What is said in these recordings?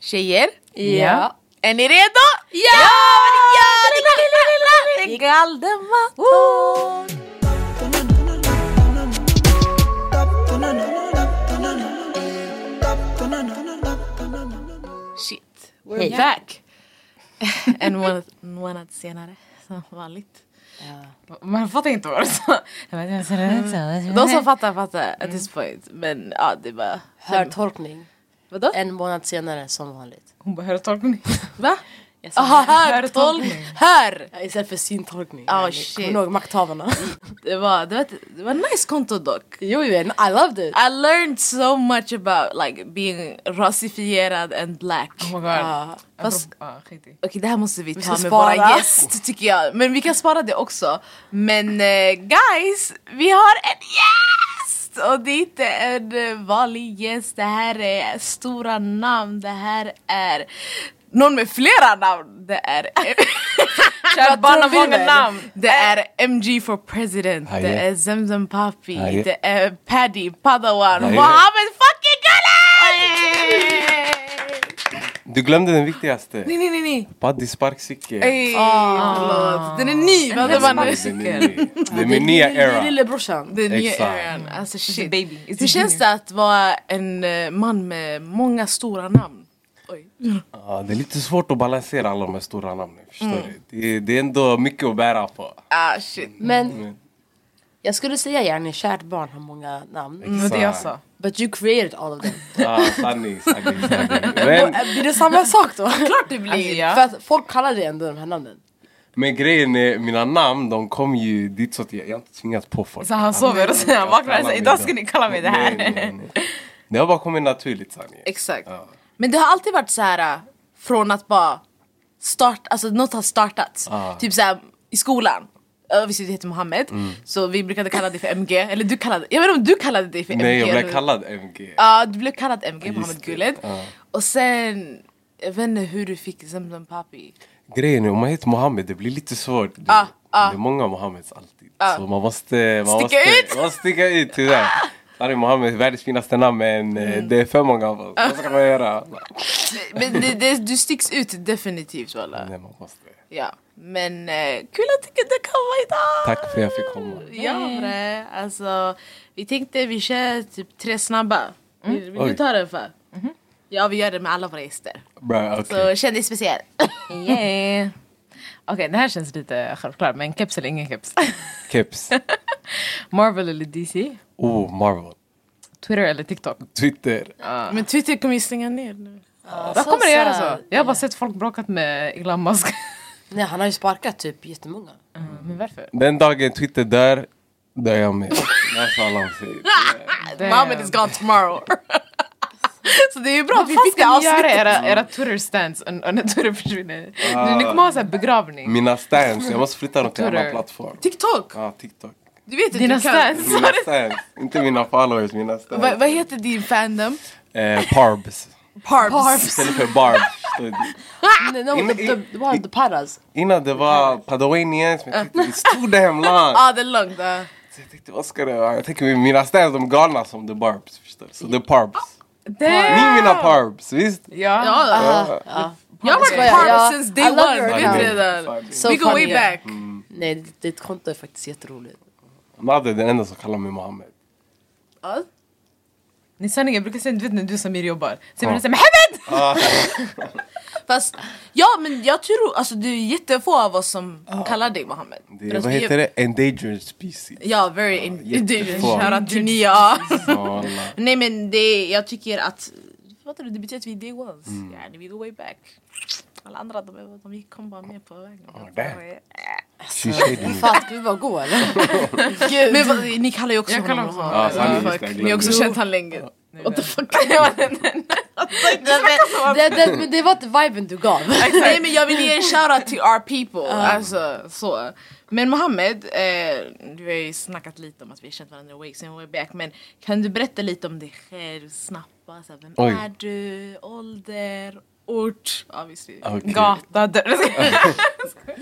Tjejer, Ja. är ni redo? Ja! ja! Det är Galdemator! Shit, we're Hej. back! en månad, månad senare, som vanligt. Man fattar inte vad det sa. De som fattar fattar at this point. Men ja, det var... Hörtolkning. Vadå? En månad senare som vanligt. Hon bara, hörtolkning. Va? Jag sa- Jaha, hör, tolk, hör! Ja, Istället för syntolkning. Ah, Eller, shit. Kommer du ihåg makthavarna? Det var, det var, ett- det var ett nice konto dock. jo, jo, I loved it. I learned so much about like being rasifierad and black. Oh my god. Ja. Fast- Fast, ah, skit i. Okej det här måste vi ta Vi ska med spara. våra gäst tycker jag. Men vi kan spara det också. Men eh, guys, vi har en gäst! Och det är inte en eh, vanlig gäst. Det här är stora namn. Det här är någon med flera namn. Det är... Kör bara tror vi många väl? namn. Det är MG for president, Hej. det är Zemzem Papi, Hej. det är Paddy, Padawan, Hej. Mohammed fucking Galan! Du glömde den viktigaste. Nej nej nej nej! Paddy sparkcykel. Ey, Ah, förlåt. Den är ny! Vad det var nu? Den är ny. Det är min nya Det är era. lillebrorsan. Den nya Exakt. eran, alltså shit. baby. It's a Hur känns det att vara en eh, man med många stora namn? Oj. Ja, det är lite svårt att balansera alla de här stora namnen. Mm. Förstår du? Det, är- det är ändå mycket att bära på. Ah shit. Men Mm. jag skulle säga gärna kärt barn har många namn. Mm, Det var det jag sa. But you created all of them. Ja, sanning, sanning, sanning. Men, Äh, Blir det samma sak då? Klart det blir! Alltså, ja. För att folk kallar det ändå de här namnen. men grejen är, mina namn de kom ju dit så att jag, jag har inte tvingat på folk. Så han sover och sen han vaknar och säger idag ska ni kalla mig det här. Nej, nej, nej. Det har bara kommit naturligt sanningen. Exakt. Ja. Men det har alltid varit så här äh, från att bara start, alltså något har startats. Ah. Mm. Typ så här i skolan. Ö, Vi sitter heter Mohammed, så vi brukade kalla dig för MG. Eller du kallade, jag vet inte om du kallade dig för MG. Nej, jag blev eller- kallad MG. Ja, du blev kallad MG, Just Mohammed det. Guled. Ja. Och sen, jag vet inte hur du fick Zemzem Papi. Grejen är, om man heter Mohammed, det blir lite svårt. Det, Ah, ah. det är många Mohammeds alltid. Ah. Så man måste... Man Sticka måste, ut. Ah. Man måste sticka ut, tyvärr. Sanne Mohammed, världens finaste namn, men eh, Mm. det är för många av oss. Ah. Vad ska man göra? Men det, det, du sticks ut definitivt walla. Nej, man måste. Ja. Men eh, kul att du kunde komma idag! Tack för att jag fick komma. Ja bre, alltså vi tänkte vi kör typ tre snabba. Vill, vill du Mm. Oj. ta den för? Ja vi gör det med alla våra gäster. Bra, Så okej. känn dig speciell. Yeah. Okej, det här känns lite självklart, men keps eller ingen keps? Keps. Marvel eller DC? Oh, Marvel. Twitter eller TikTok? Twitter. Men Twitter kommer ju stänga ner nu. Ah, Vad kommer det göra så? Jag har bara sett folk bråkat med Elon Musk. Nej, han har ju sparkat typ jättemånga. Men varför? Den dagen Twitter dör, dör jag med. That's all I'm saying. Damn. Mohammed is gone tomorrow. Så det är ju bra att vi Vad fick det fan ska ni göra avsnittet. era, era Twitter-stands och- och när Twitter försvinner? Ni, ni kommer ha så här begravning. Mina stans, jag måste flytta dem till en Twitter. annan plattform. TikTok! Ja, TikTok. Du vet att Dina du kan. stans. Mina stans. Inte mina followers, mina stans. Va, vad heter din fandom? Eh, parbs. Parbs. Istället för barb. förstår du? Nej, no, In- the, the, the, one, the paras. Innan det var Padawanians, men jag tyckte det stod damn långt. Ja ah, det är långt. ja. Så jag tänkte, vad ska det vara? Jag tänker mina städer, de är galna som the barbs. Förstår du? Så the parbs. Ni är mina parbs, visst? Ja. Ja, Ja. jag har Ja, varit ja. parbs since I day love one. your Du vet account. redan. So We go way funny, yeah. back. Nej, ditt, ditt konto är faktiskt jätteroligt. Nadde är den enda som kallar mig Mohammed. Ja. Ni sanningen, jag brukar säga, du vet när du och Samir jobbar. Samir Ja. säger Mehmed! Fast ja men jag tror alltså det är jättefå av oss som kallar dig Mohammed. Det är, vad heter det? Endangered species. Ja, very endangered. jättefå. Shoutout till ni, ja. Ja, alla. Nej men det, jag tycker att, fattar du? Det betyder att vi är day ones. Ja, vi go way back. Alla andra de, de gick- kom bara med på vägen. Ja, där. She shaded me. Fan, ska vi bara gå eller? Gud. Men vad, ni kallar ju också Jag kallar honom också Mohammed. honom. Ja, What the sanning, fuck? just det, Ni har också glömde. känt han länge. What the fuck? det, det, men det var inte viben du gav. Nej men jag vill ge en shoutout till our people. Alltså, så. Men Mohammed, eh, du har ju snackat lite om att vi har känt varandra way, sen way back. Men kan du berätta lite om dig själv snabbt? bara Så här, vem Oj. är du? Ålder? Ort? Obviously. Okej, Gata, dörr.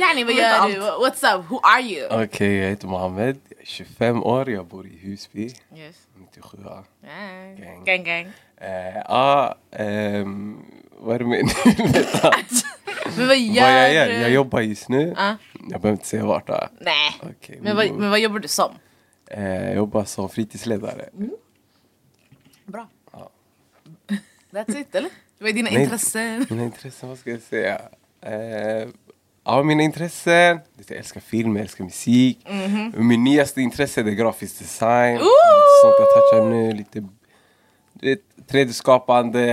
Yani vad vet gör allt. du? What's up? Who are you? Okej, jag heter Mohammed. Jag är 25 år, jag bor i Husby. Yes. 97 Yeah. Gang. Gang gang. Eh, Ja, ehm, Vad är det med Veta Men vad gör, Vad jag gör? du? Jag jobbar just nu. Ja. Jag behöver inte säga vart. ah. Nej. Okej, Men, vad, mm. men vad jobbar du som? Eh, jag jobbar som fritidsledare. Bra. That's it, eller? Vad är dina Nej. intressen? Mina intressen, vad ska jag säga? Eh, ja, mina intressen. Jag älskar film, jag älskar musik. Mhm. Min nyaste intresse det är grafisk design. Lite sånt jag touchar nu. Lite du vet, 3D-skapande,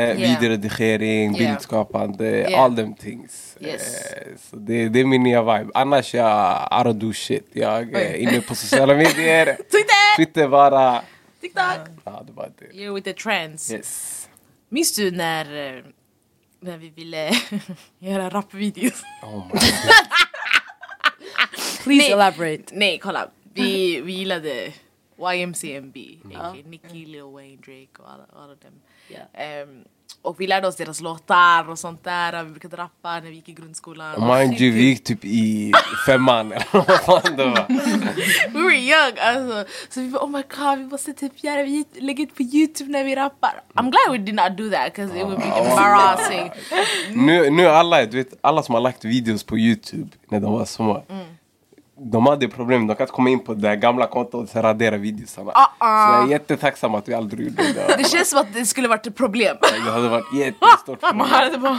videoredigering, Yeah. bildskapande. Yeah. All them things. Yes. Eh, så det, det är min nya vibe. Annars jag I don't do shit. Jag eh, är inne på sociala medier. Twitter! Twitter bara. TikTok! Ja, det var det. You're with the trends. Yes. Minns du när, eh, när vi ville göra rapvideos? Oh my Please Nej. elaborate. Nej, kolla. Mm. Vi, vi gillade YMCMB, a.k.a. Nicki, Lil Wayne, Drake och alla, alla dem. Ja. Ehm, och vi lärde oss deras låtar och sånt där. Vi brukade rappa när vi gick i grundskolan. Mind you, vi gick typ i femman eller vad fan det var. We were young alltså. Så vi bara oh my god vi måste typ göra, vi lägger ut på youtube när vi rappar. I'm glad we did not do that because it would be embarrassing. Nu, nu alla, du vet, alla som har lagt videos på Youtube när de var små. De hade problem, de kan inte komma in på det där gamla kontot och sen radera videosarna. Ah, Så jag är jättetacksam att vi aldrig gjorde det. Det känns som att det skulle varit ett problem. Det hade varit jättestort för Man mig. hade bara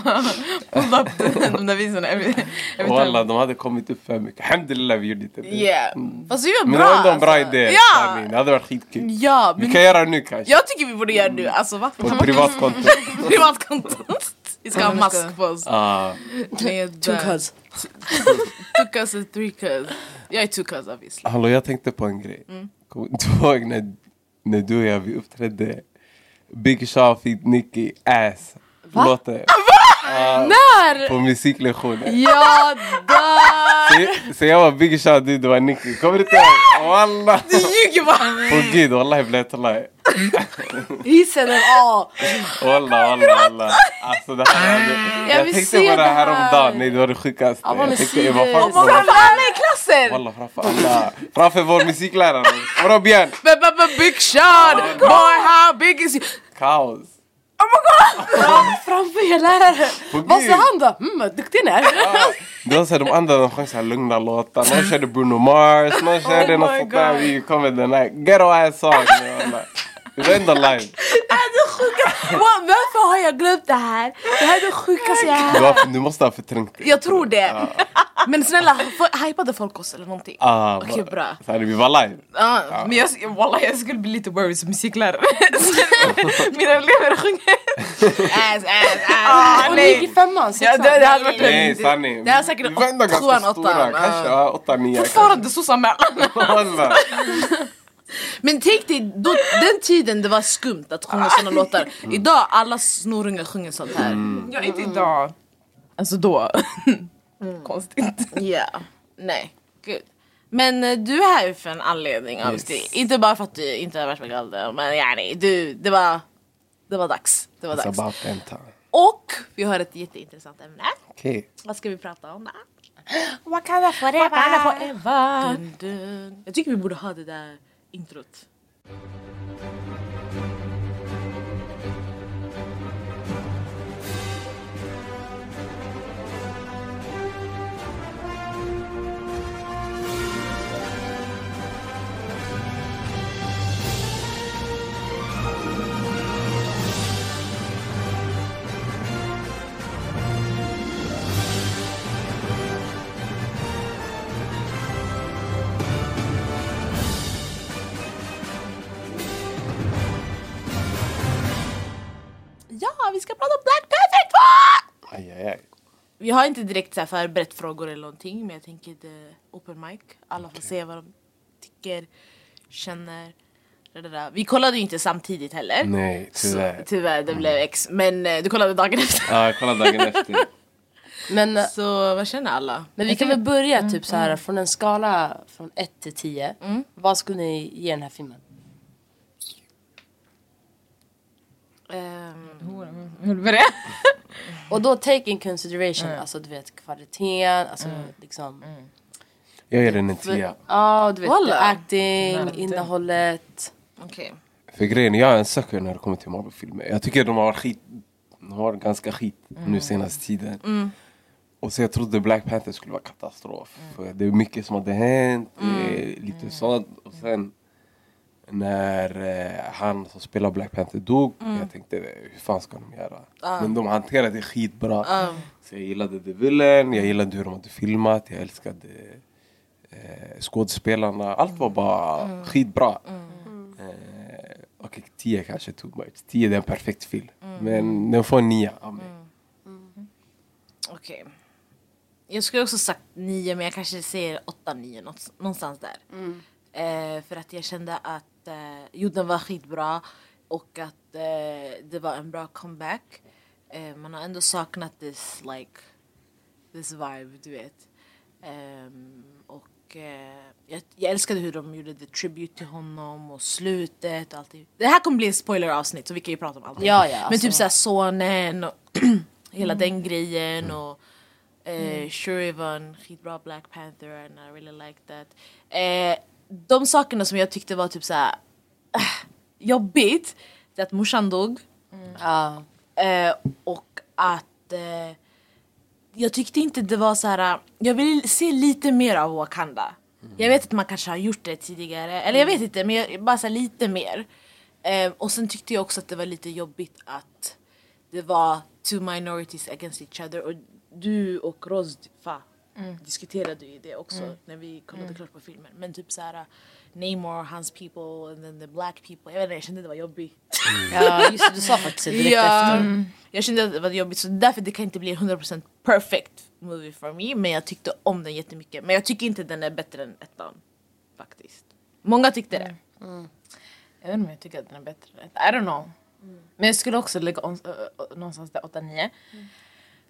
hållit upp de där visorna. every- every Och alla, time. de hade kommit upp för mycket. Alhamdulillah vi gjorde inte det. Yeah. Fast vi var bra Men det var ändå en bra alltså. idé. Ja! Sami. Det hade varit skitkul. Ja, Vi men kan göra det nu kanske. jag tycker vi borde göra det nu. Alltså va? På ett privat konto. Privatkonto. Vi ska ha Ja, vi ska- mask på oss. Ah. Med Two cuz. Two cuz och three cuz. Jag är two cuz obviously. Hallå, jag tänkte på en grej. Kommer du inte ihåg när, när du och jag vi uppträdde Big Sean feat Nicky Ass låten? När? På musiklektionen. Jag dör! Så, så jag var Big Sean, du, du var Nicky. Kommer du inte ihåg? Walla! Du ljuger bara! På gud, wallahi blättalaj. He said it all. Walla, walla, walla. Alltså det här. Jag, jag, vill tänkte se på det det här om här. dagen. Nej, det var det sjukaste. I wanna Jag tänkte, see eh, vad this. fan Oh my var Framför alla i klassen! Walla, framför alla. Framför vår musiklärare. Vadå Björn? B- b- b- Big Sean! Boy how big is you? Kaos. Framför er lärare. På Vad gud. sa han då? Mm, vad duktig ni är. Det var så här, de andra de sjöng så här lugna låtar. Någon körde Bruno Mars, Oh någon körde my något sånt där. God. Vi kom med den här ghetto ass song. Det var ändå live. Wow, Varför har jag glömt det här? Det här är det sjukaste jag Du, har har, du måste ha förträngt det. Jag tror det. Men snälla, f- hypade folk oss eller någonting? Ah, Okej, va- bra. Så här, vi var live. Ja. Men jag, wallah, jag skulle bli lite worried som musiklärare. Mina elever sjunger. Ass, ass, ass. Och ni gick nej. i femman, Ja, sexan. det, det hade varit en... Nej, sanning. det här är säkert Vi var ändå åt- ganska tvåan, åttan, stora. ja. Kanske ja, åtta, nio. Fortfarande sossanmälan. Kolla. Men tänk dig, då, den tiden det var skumt att Ah. sjunga såna låtar. Mm. Idag alla snorungar sjunger sånt här. Ja, inte idag. Mm. Alltså då. Konstigt. Ja, nej. Gud. Men eh, du är här för en anledning obviously. Inte bara för att du inte har varit med Galder, men yani, du, det var, det var dags. Det var It's dags. about them time. Och vi har ett jätteintressant ämne. Okej. Vad ska vi prata om då? Wakanda forever. forever. Dun, dun. Jag tycker vi borde ha det där introt. Ja, vi ska prata om Black Panther 2! Aj, aj, aj. Vi har inte direkt så här förberett frågor eller någonting men jag tänker det open mic. Alla får se vad de tycker, känner. da, da, da. Vi kollade ju inte samtidigt heller. Nej, Så, tyvärr. Mm. tyvärr det blev ex. Men eh, du kollade dagen efter. Ja, kolla dagen efter. Men, eh, Så vad känner alla? men vi kan väl börja typ så här från en skala från 1 till 10. Vad skulle ni ge den här filmen? Ehm, Vill du börja? Och då take in consideration, alltså du vet kvaliteten, alltså liksom. Jag ger den en För- tia. Ja, du vet Walla. the acting, Nej, det- innehållet. Okej. För grejen är, jag är en sucker när det kommer till Marvel-filmer. Jag tycker de har varit skit... har ganska skit nu senaste tiden. Och så jag trodde Black Panther skulle vara katastrof. För det är mycket som hade hänt, det är lite sånt. Och sen när eh, han som spelar Black Panther dog, jag tänkte hur fan ska de göra? Men de hanterade det skitbra. Så jag gillade The Villain, jag gillade hur de hade filmat, jag älskade eh, skådespelarna. Allt var bara skitbra. Eh, Okej, 10 kanske too much. 10 det är en perfekt film. Men den får en 9 av mig. Okej. Jag skulle också sagt nio, men jag kanske säger åtta, nio, nåt- någonstans där. Eh, för att jag kände att eh, jo, den var skitbra och att eh, det var en bra comeback. Eh, man har ändå saknat this, like, this vibe, du vet. Ehm, och eh, jag, jag älskade hur de gjorde the tribute till honom och slutet och allt det. Det här kommer bli ett spoileravsnitt så vi kan ju prata om allt. Ja, ja, Men alltså. Mm. typ såhär sonen och hela den grejen och eh, Shurivan, skitbra Black Panther and I really like that. Eh, de sakerna som jag tyckte var typ såhär ah, jobbigt, det är att morsan dog. Mm. Ja. Eh, och att eh, jag tyckte inte det var så här. jag vill se lite mer av Wakanda. Jag vet att man kanske har gjort det tidigare, eller jag vet inte, men jag, bara så här, lite mer. Eh, och sen tyckte jag också att det var lite jobbigt att det var two minorities against each other. Och du och Roz fa, diskuterade ju det också när vi kollade klart på filmen. Men typ så här, Namor, hans people, and then the black people. Jag vet inte, jag kände det var jobbigt. ja, just det. Du sa faktiskt det typ direkt efter. Mm. Jag kände att det var jobbigt så därför det kan inte bli 100% perfect movie for me men jag tyckte om den jättemycket. Men jag tycker inte den är bättre än ettan faktiskt. Många tyckte det. Jag vet inte om jag tycker att den är bättre. än ett. I don't know. Men jag skulle också lägga om, ö, ö, någonstans där 8-9.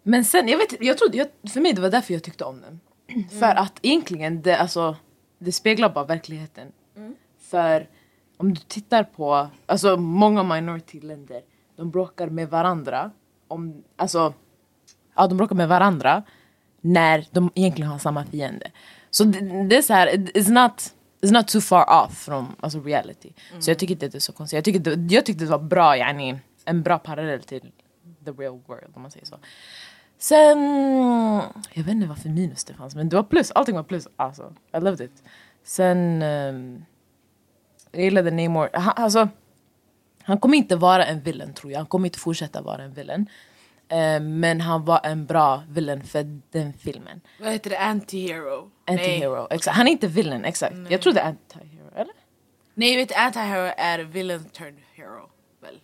Men sen, jag vet inte, jag trodde, jag, för mig det var därför jag tyckte om den. För att egentligen, det, alltså, det speglar bara verkligheten. För om du tittar på, alltså många minority-länder, de bråkar med varandra. Om, alltså, ja, de bråkar med varandra när de egentligen har samma fiende. Så det, det är så här, it's not, it's not too far off från alltså, reality. Så jag tycker inte att det är så konstigt. Jag tycker det, jag tyckte det var bra, yani, en bra parallell till the real world om man säger så. Sen, jag vet inte varför minus det fanns men det var plus, allting var plus. Alltså, I loved it. Sen, ehm, jag gillade Namor, han, alltså han kommer inte vara en villain tror jag, han kommer inte fortsätta vara en villain. Eh, men han var en bra villain för den filmen. Vad heter det? Anti-hero? Anti-hero. Exakt. Han är inte villain, exakt. Jag trodde anti-hero, eller? Nej, vet du, anti-hero är villain turned hero. Väl.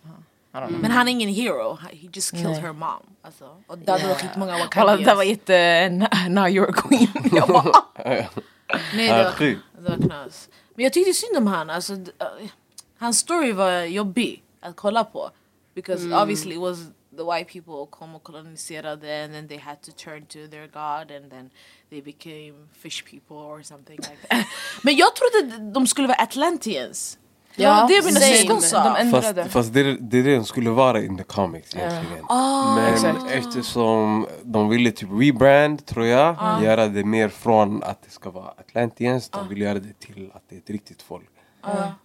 I don't know. Men han är ingen hero, he just killed her mom. Alltså. Och där var skitmånga Kolla, det wakandians. där var jätte... eh, Now you're a queen. Jag bara, ah. Nej, Ja, det var, sjukt. det var knas. Men jag tyckte synd om han. Alltså, d- eh, hans story var jobbig att kolla på. Because obviously it was the white people kom och koloniserade and then they had to turn to their god and then they became fish people or something like that. Men jag trodde d- de skulle vara Atlanteans. Ja, Ja, det mina same. syskon sa. De änd- Fast, Ändrade. fast det, det är det de skulle vara in the comics egentligen. Men Exakt. eftersom de ville typ rebrand, tror jag, göra det mer från att det ska vara Atlantians, de vill göra det till att det är ett riktigt folk.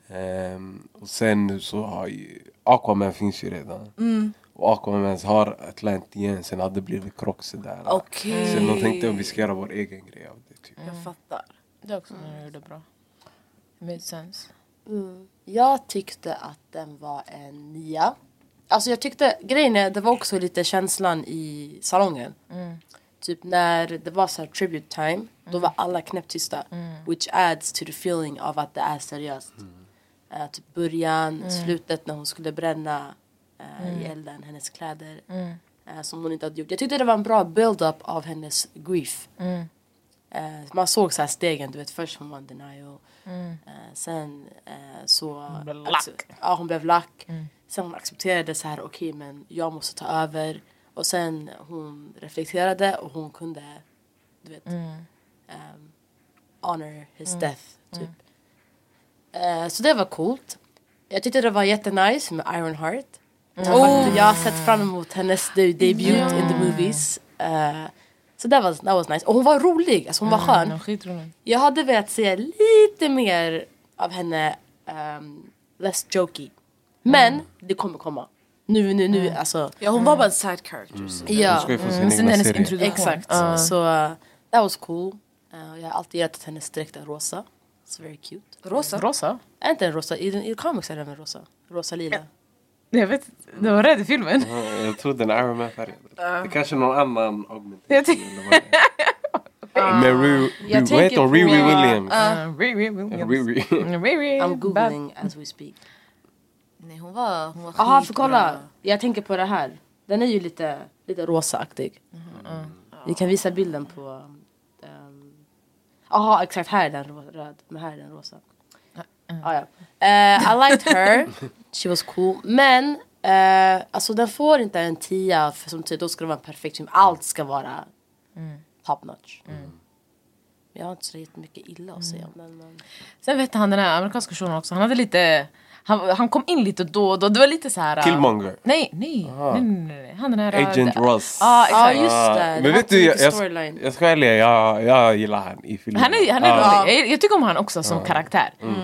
Ehm, och sen nu så har ju, Aquaman finns ju redan. Och Aquaman har Atlantians, sen hade det blivit krock sådär. Okej. Sen de tänkte om vi ska göra vår egen grej av det. Typ. Jag fattar. Det är också när du gjorde bra. Made sense. Mm. Jag tyckte att den var en nia. Alltså jag tyckte, grejen är, det var också lite känslan i salongen. Typ när det var så här tribute time, då var alla knäpptysta. Which adds to the feeling av att det är seriöst. Eh, typ början, slutet när hon skulle bränna eh, i elden hennes kläder. eh, som hon inte hade gjort. Jag tyckte det var en bra build-up av hennes grief. Eh, man såg så här stegen, du vet först hon var en denial. Eh, sen eh, så... Hon blev lack. Ja, hon blev lack. Sen hon accepterade så här, okej men jag måste ta över. Och sen hon reflekterade och hon kunde, du vet, ehm, honor his death. Typ. Eh, så det var coolt. Jag tyckte det var jättenice med Ironheart. Oh. Jag har sett fram emot hennes de- debut in the movies. Eh, så det var that was nice. Och hon var rolig, alltså hon var skön. Men skitroligt. Jag hade velat se lite mer av henne ehm, less jokey. Men det kommer komma. Nu, nu, nu. Alltså, Ja, hon var bara en side character. så. Hon ja. ska ju få sin Mm, sen egna hennes serie. introduktion. Exakt. Ja. Så uh, that was cool. Uh, jag har alltid gillat att hennes dräkt är rosa. It's very cute. Rosa. Rosa? Är inte den rosa? I, den, i comics är den väl rosa? Rosa lila? Nej, Jag vet, det var rädd i filmen. Ja, Jag tror den är Iron Man-färgad. Det kanske är någon annan augmentation. Jag Ah. ty- eller vad det är. Med Ru- Jag Ru- vad tänker heter hon? på- Riri Ja, Williams. Uh, Riri Williams. Riri. Riri. I'm Bad- googling as we speak. Nej, hon var, hon var Jaha, för skitbra. kolla. Jag tänker på det här. Den är ju lite, lite rosaaktig. Vi kan visa bilden på... Jaha, exakt. Här är den ro- röd, men här är den rosa. Ah, ja. Eh, I liked her. She was cool. Men, eh, alltså den får inte en tia för som typ, då ska det vara en perfekt film. Allt ska vara top notch. Jag har inte så jättemycket illa att säga om den. Men... Sen vet han den här amerikanska shunon också, han hade lite... Han, han kom in lite då och då, det var lite så här... äh, Killmonger. Nej, nej, nej, nej, nej, nej. Han den här... äh, Agent det- Ross. Ja, exakt. Ja, just det. Ah, Det Men var vet du, jag, mycket jag, storyline. jag ska ärliga, jag, jag gillar han i filmen. Han är, han är Ah, rolig. Jag, jag tycker om han också som karaktär. Mm.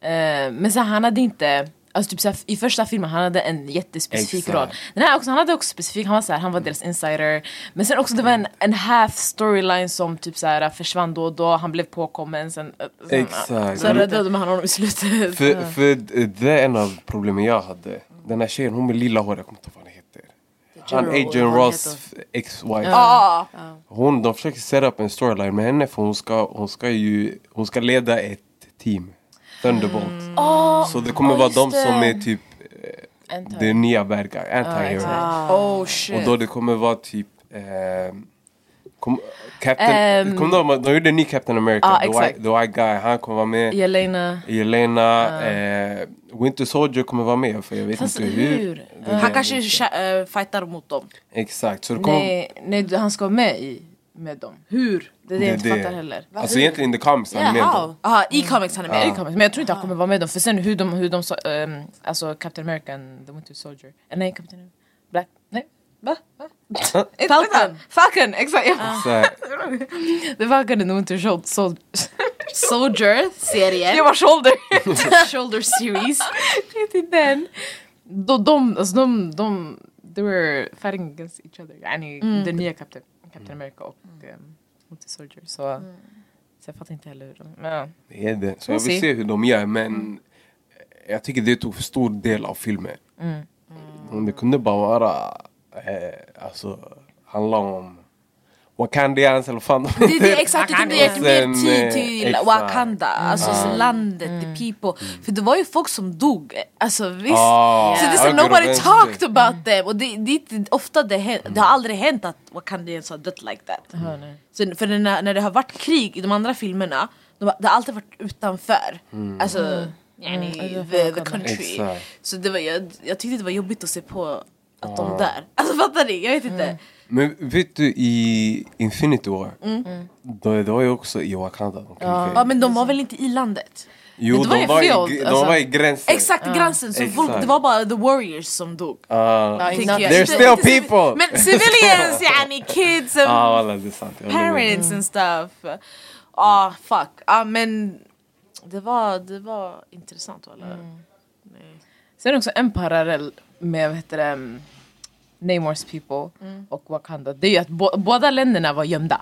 Eh, men så här, han hade inte... Alltså typ så här, I första filmen han hade en jättespecifik Exakt. roll. Den här också, han hade också specifik, han var, så här, han var deras insider. Men sen också det var en, en half storyline som typ så här, försvann då och då. Han blev påkommen sen... eh, sen Exakt. Så räddade man honom i slutet. Ah, För, för det är en av problemen jag hade. Den här tjejen, hon med lilla hår, jag kommer inte ihåg vad han heter. Han General, vad Agent han Ross ex-wife. Ja. Hon, de försöker sätta upp en storyline med henne för hon ska, hon ska ju, hon ska leda ett team. Thunderbolt. Mm. Ah, Så det kommer oh, vara just de som det. är typ eh, det nya bad guy, Ah, anti-hero. Oh Och shit. då det kommer vara typ ehm, kom, Captain, Ehm. kom de, de gjorde en ny Captain America, Ja, the, exakt. white, the white guy, han kommer vara med. Jelena... Jelena, eh, Winter Soldier kommer vara med för jag vet Ah. Fast inte hur. hur? Det är- Han kanske kä- eh, fightar mot dem. Exakt, så det kommer... Nej, nej, du- han ska vara med i, med dem. Hur? Det är det jag inte det. fattar heller. Alltså egentligen the comics han är med dem. Jaha, Mm. i comics han är med. Det kommer- Men jag tror inte han kommer vara med dem. För sen hur de, hur de sa, ehm, alltså Captain American, The Winter Soldier. Eh, nej, Captain America. Black, nej. Va? Va? Eh, Falcon. vänta. Falcon, exakt! Ja. Så här, The Falcon and the Winter Sol- Sol- Soldier. Serien. Jag var shoulder! shoulder series. Det är typ den. Då, de, alltså de, de, they were fighting against each other. Yani, Den nya Captain, Captain America och ehm, Winter Soldier. Så, så jag fattar inte heller hur de... Men, ja. det är det. Så jag se. vill se hur de gör Mm. men jag tycker det tog för stor del av filmen. Mm. Det kunde bara vara, eh, alltså, handla om Wakandians eller vad fan de Det, det, är exakt, det kunde gett mer Och sen, tid eh, till exakt. Wakanda, alltså landet, Mm. the people. För det var ju folk som dog, alltså visst. Ah, Så det är höger som och nobody vänster. talked Mm. about them. Och det, det, är inte ofta det, hän- det har Mm. aldrig hänt att Wakandians har dött like that. Ja, nej. Så, för när, när det har varit krig i de andra filmerna, de, har- det har alltid varit utanför. Alltså, Mm. yani, the, the country. Mm. Exakt. Så det var, jag, jag tyckte det var jobbigt att se på att de där. Alltså fattar ni? Jag vet inte. Mm. Men vet du i Infinity War, då, det var ju också i Wakanda. de krigade. Mm. Ja men de var väl inte i landet? Jo, Det var de ju var, i, field, gr- alltså. de var i gränsen. Exakt, gränsen. Så folk, Exakt. det var bara the warriors som dog. Ah, tänker not- jag. They're Inte- still inte civi- people. Men um, civilians yani, kids and ah, alla, det är sant. Jag håller med. parents and stuff. Ja, ah, fuck. Ah, men det var, det var intressant alla. Nej. Sen också en parallell med vad heter det, um, Namors people och Wakanda. Det är ju att bå- båda länderna var gömda.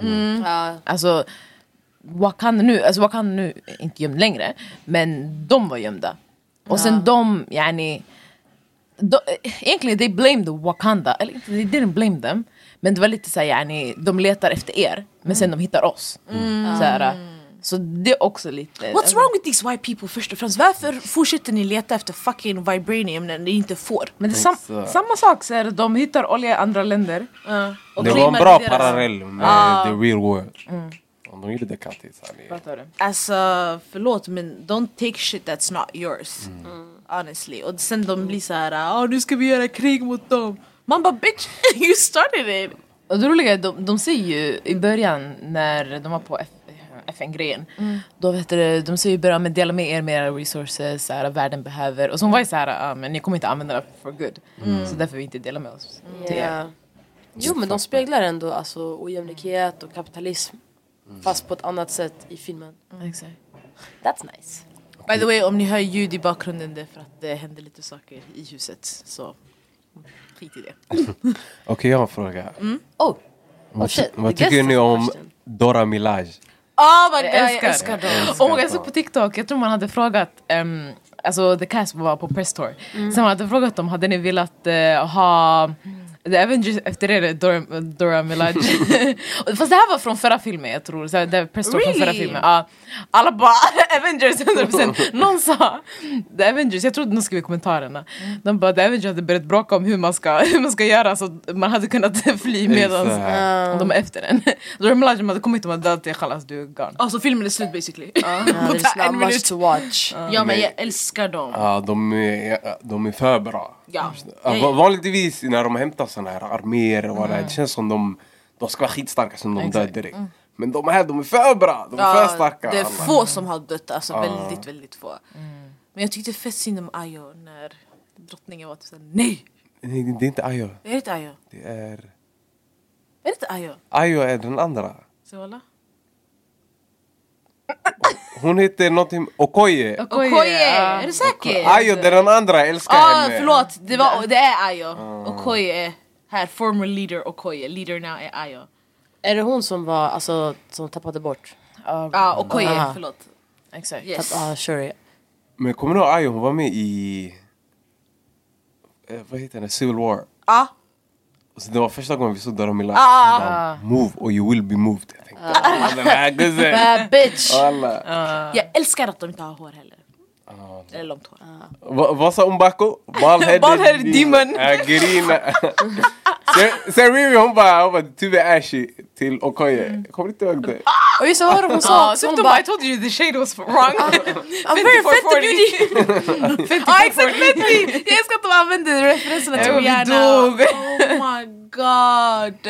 Mm. Ja, Alltså Wakanda nu, alltså Wakanda nu är inte gömd längre. Men de var gömda. Och sen de, yani. De, egentligen they blamed Wakanda. Eller inte, they didn't blame them. Men det var lite såhär yani, de letar efter er. Men sen de hittar oss. Så, här, så det är också lite. Mm. What's wrong with these white people först och främst? Varför fortsätter ni leta efter fucking vibranium när ni inte får? Men det är sam, Exakt. samma sak, så här, de hittar olja i andra länder. Ja. Och Det var en claimade bra deras- Ah. Mm. parallell med the real world. Om de gjorde det kattigt. så hade- Fattar du? Alltså förlåt men don't take shit that's not yours. Mm. Honestly. Och sen de blir så här, "Ah, nu ska vi göra krig mot dem. Man bara bitch, you started it! Och det roliga är de, de säger ju i början när de var på F, FN-grejen. Då vet du, de säger ju i början men dela med er med era resources, så här, världen behöver. Och så hon var ju så här, ah, men ni kommer inte använda det for good. Så därför vi inte delar med oss. till er. Ja. Jo men de speglar ändå alltså, ojämlikhet och kapitalism. Fast på ett annat sätt i filmen. Exakt. That's nice. By the way om ni hör ljud i bakgrunden det är för att det händer lite saker i huset. Så Skit i det. Okej, jag har en fråga. Mm. Oh! Vad, shit, vad the tycker guest ni has a om question. Dora Milaje? Ah, Oh my god, Jag älskar, jag älskar det. Oh my God, jag såg på TikTok, jag tror man hade frågat, um, alltså the cast var på press tour. Mm. Sen man hade frågat dem, hade ni velat eh, ha The Avengers efter det, Dora, Dora Milaje. Fast det här var från förra filmen jag tror, så här, det här press tour från förra Really? filmen. Ja. alla bara Avengers 100%. Någon sa The Avengers, jag tror de skrev i kommentarerna. Mm. De bara The Avengers hade börjat bråka om hur man ska, hur man ska göra så att man hade kunnat fly medans Exakt. de är efter en. Dora Milaje de hade kommit och hade dödat dig, chalas du är gone. Alltså filmen är slut basically. Ja, det På är not en minut. much to watch. Ja men jag älskar dem. Ja, de, är, de är för bra. Ja. Ja, va- vanligtvis när de hämtar såna här arméer och Mm. det, det känns som de, de ska vara skitstarka som de dör direkt. Men de här, de är för bra! De är för starka! det är alla. få som har dött, alltså väldigt väldigt få. Men jag tyckte fett synd om Ayo när drottningen var typ såhär nej! Nej, det- det är inte Ayo. Det är inte Ayo. Det är... Det är inte Ayo. Ayo är den andra. Så voilà. Hon heter någonting... Okoye. Okoye! Är du säker? Ayo, det är den andra. Jag älskar Ah, henne. förlåt, det, var, det är Ayo. Okoye är här, former leader Okoye. Leader now är Ayo. Är det hon som var, alltså, som tappade bort? Ja, Ja, ah, Okoye, Aha. förlåt. exakt. Yes. Tapp, ah, sure. Men kommer du ihåg Ayo? Hon var med i... eh, Vad heter den? Civil War. Ah. Och så det var första gången vi såg Dora Milaje. Ah. Bara, Move or you will be moved. Jag tänkte, ah. den här guzzen. Bad Ah. bitch! Alla. Jag älskar att de inte har hår heller. Eller långt hår. Va- Vad sa Umbako? Ballheaded, Bald-headed demon. Ja, grina. Sen- Sen Riri hon bara, hon bara du är ashy till Okoye. Mm. Jag kommer inte ihåg det. Och just det, vad var det hon sa? Ja, också? typ Hon de bara, bara I told you the shade was wrong. I'm Ah, very fat and beauty! Ja exakt, Fendi! Jag älskar att de använder referenserna till Ja, vi Rihanna. dog. Oh my god!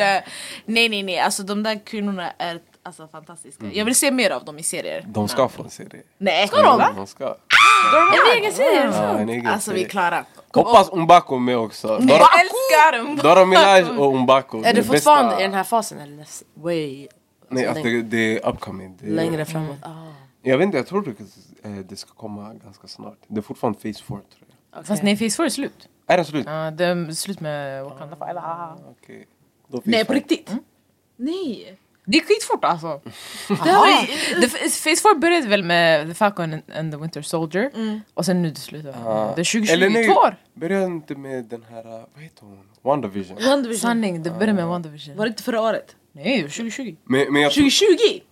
Nej nej nej, alltså de där kvinnorna är alltså, fantastiska. Jag vill se mer av dem i serier. De ska få en serie. Nej, ska de? De ska. Är det egen serie? Ja, en egen Alltså vi är serie. klara. Hoppas Umbako är med också. Dora, Jag älskar dem! Dora Milaje och Umbako. är du det fortfarande bästa- i den här fasen? Eller näst, way Nej, alltså, alltså, det, det är upcoming. Det, längre framåt? Ah. Jag vet inte, jag tror det, eh, det ska komma ganska snart. Det är fortfarande Phase 4 tror jag. Fast nej, Phase 4 är slut. Är den slut? Ja, det är slut med Wakanda Forever. Ah, Okej. Då Phase Nej, på four. riktigt. Mm. Nej! Det är skitfort alltså. Det här var ju- det- Phase 4 började väl med The Falcon and- and the Winter Soldier och sen nu det slutar. Ja. Det är 2022 Eller nej, år. Började inte med den här, eh, vad heter hon? WandaVision. Sanning, det började med WandaVision. Var det inte förra året? Nej, 2020. Men, men jag tror... 2020?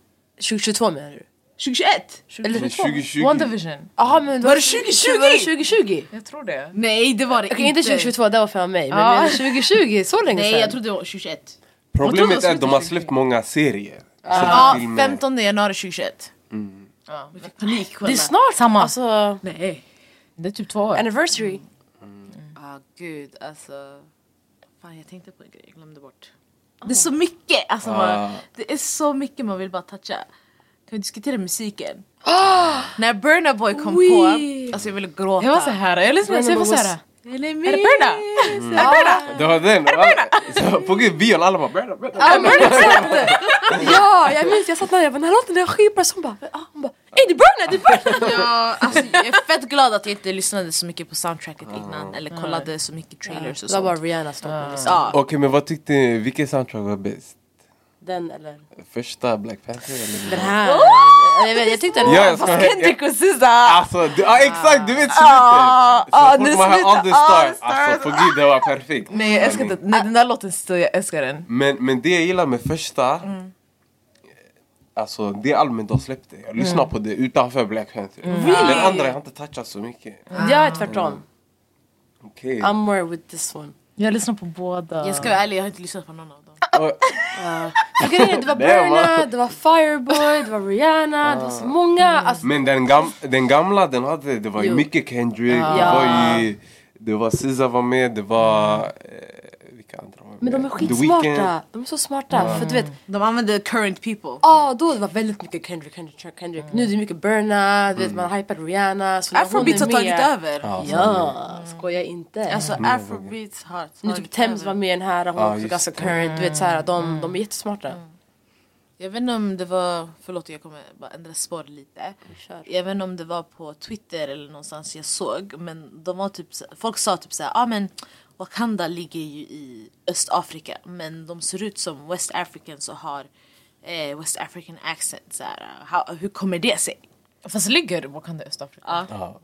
2022 menar du? 2021? Eller Men 2020. WandaVision. Jaha men Var det 2020? Var det 2020? Jag tror det. Nej det var det Okej inte 2022, det var för mig. Men Ja. jag menar 2020, så länge Nej sedan? jag trodde det var 2021. Problemet är att de har 2020. släppt många serier. Ja, Ah. 15 januari 2021. Mm. Vi fick panik Det själva. är snart Samma. Alltså, Nej. Det är typ två år. anniversary. Ah, gud alltså. Fan jag tänkte på en grej, jag glömde bort. Det är så mycket, alltså, man, Ah. det är så mycket man vill bara toucha. Kan vi diskutera musiken? När Burna Boy kom på, alltså jag ville gråta. Jag var så här, jag lyssnade så jag var så här. Eller Är det mig. Berna? Det var den! Så, På gud, Bion, alla bara Berna, Berna. Berna. ja, jag minns jag satt där jag bara den här låten är skitbra. Hon bara, ah, hon bara ey det är Burna, det är Burna! Ja, alltså, jag är fett glad att jag inte lyssnade så mycket på soundtracket innan eller kollade så mycket trailers och Det var bara sånt. Rihanna stod på listan. Ja. Okej, men vad tyckte ni? Vilken soundtrack var bäst? Den eller? Första Black Panther eller? Den här. Jag, vet, jag tyckte den Ja, jag ska Typ Kendrick och SZA! Alltså, du, ah, exakt! Du vet slutet! Ah, ah, Så nu fort man hör slutar- On the ah, Star, alltså på gud, det var perfekt. Nej jag älskar Sanning. den, nej, den där låten, så jag älskar den. Men, men det jag gillar med första Mm. Alltså det albumet de släppte, jag lyssnar Mm. på det utanför Black Panther Den andra jag har inte touchat så mycket Jag är tvärtom. Okej, I'm more with this one. Jag lyssnar på båda. Jag ska vara ärlig, jag har inte lyssnat på någon av dem. och- För grejen är, det var Det var- Burna, det var Fireboy, det var Rihanna, det var så många. Alltså, Men den, gam, den gamla den hade, det var ju Jo. mycket Kendrick Det var ju, det var SZA var med, det var eh, Vilka andra var med? men de är The Weeknd. skitsmarta. De är så smarta. För du vet, Mm. De använder current people. Ja, då det var väldigt mycket Kendrick, Kendrick, Kendrick. Nu är det mycket Burna, du vet man hypar Rihanna. Så när hon Afrobeats har är tagit med- över. Ja, skoja inte. Alltså afrobeats har nu tagit typ Thames var över. med i den här, hon Ja, var också just ganska det. current. Du vet såhär, de, de är jättesmarta. Jag vet inte om det var, förlåt jag kommer bara ändra spår lite. Kör. Jag vet inte om det var på Twitter eller någonstans jag såg men de var typ, så- folk sa typ såhär, ah, men Wakanda ligger ju i Östafrika men de ser ut som West Africans och har eh, West African accent. Så här, how, hur kommer det sig? Fast ligger Wakanda i Östafrika? Ja. Ja.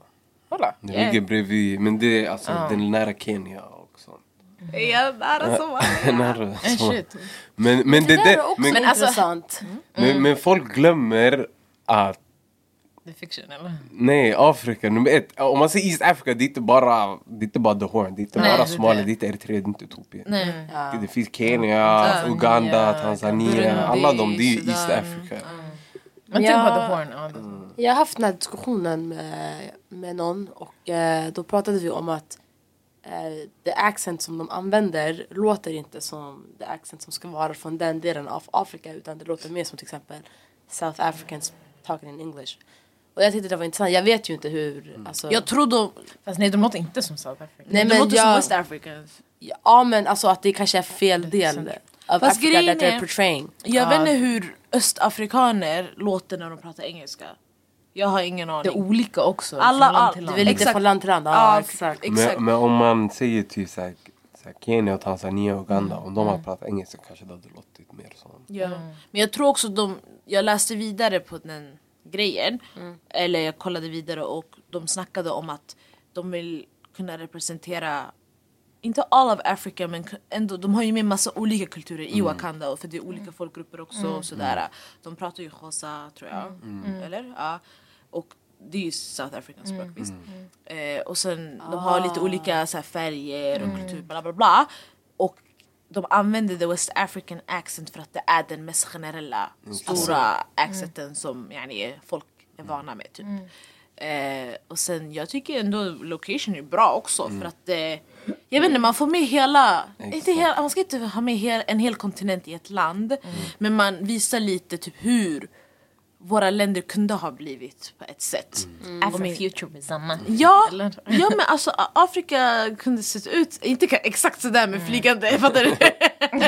Kolla. Den ligger bredvid, men det är alltså den är nära Kenya och sånt. Ja, nära som Nära Eh, så. shit. Men, men det, Det där där, är också Mm. men, alltså- intressant. men, men folk glömmer att Det är fiction eller? Nej, Afrika nummer ett. Om man säger East Africa, det är inte bara, det är inte bara The Horn. Det är inte Nej, det bara är Somalia, det. det är inte Eritrea, det är inte Etiopien. Nej. Det- Det finns Kenya, Uganda, Tanzania. Burundi, alla de, det är ju East Sudan. Africa. Men Ja. tänk på The Horn. Ja, det- Jag har haft den här diskussionen med, med någon och eh, då pratade vi om att eh, the accent som de använder låter inte som the accent som ska vara från den delen av Afrika utan det låter mer som till exempel South Africans talking in English. Och jag tyckte det var intressant. Jag vet ju inte hur... Alltså, Mm. Jag tror de... Fast nej, de låter inte som South Africa. Nej, de men låter som jag- West Africans. ja men alltså att det kanske är fel del sant. av Mm, Fast Afrika grejen that they're är- portraying. Jag Ja. vet inte hur östafrikaner låter när de pratar engelska. Jag har ingen Det är aning. olika också. Alla- från land all- till Det land. är väl lite Exakt. från land till land. Ja, Ja, exakt. Exakt. Men, men om man säger typ så här, så här, Kenya, och Tanzania och Uganda, om de Mm. hade pratat engelska kanske det hade låtit mer som... Ja. Mm. Men jag tror också de, jag läste vidare på den grejen, eller jag kollade vidare och de snackade om att de vill kunna representera, inte all of Africa men k- ändå, de har ju med massa olika kulturer i Wakanda och för det är olika folkgrupper också och sådär. De pratar ju Xhosa tror jag, eller? Ja. Och det är ju South Africans språk visst. Eh, och sen de har lite olika så här, färger och kultur bla bla bla. Och de använder the West African accent för att det är den mest generella stora accenten som yani, folk är vana med. Typ. Eh, och sen jag tycker ändå location är bra också för att eh, jag vet inte, man får med hela, inte Exakt. hela man ska inte ha med hel, en hel kontinent i ett land men man visar lite typ hur våra länder kunde ha blivit på ett sätt. Och min- Afrofuturism. Ja, Eller? ja men alltså A- Afrika kunde se ut, inte ka- exakt sådär med flygande, fattar du?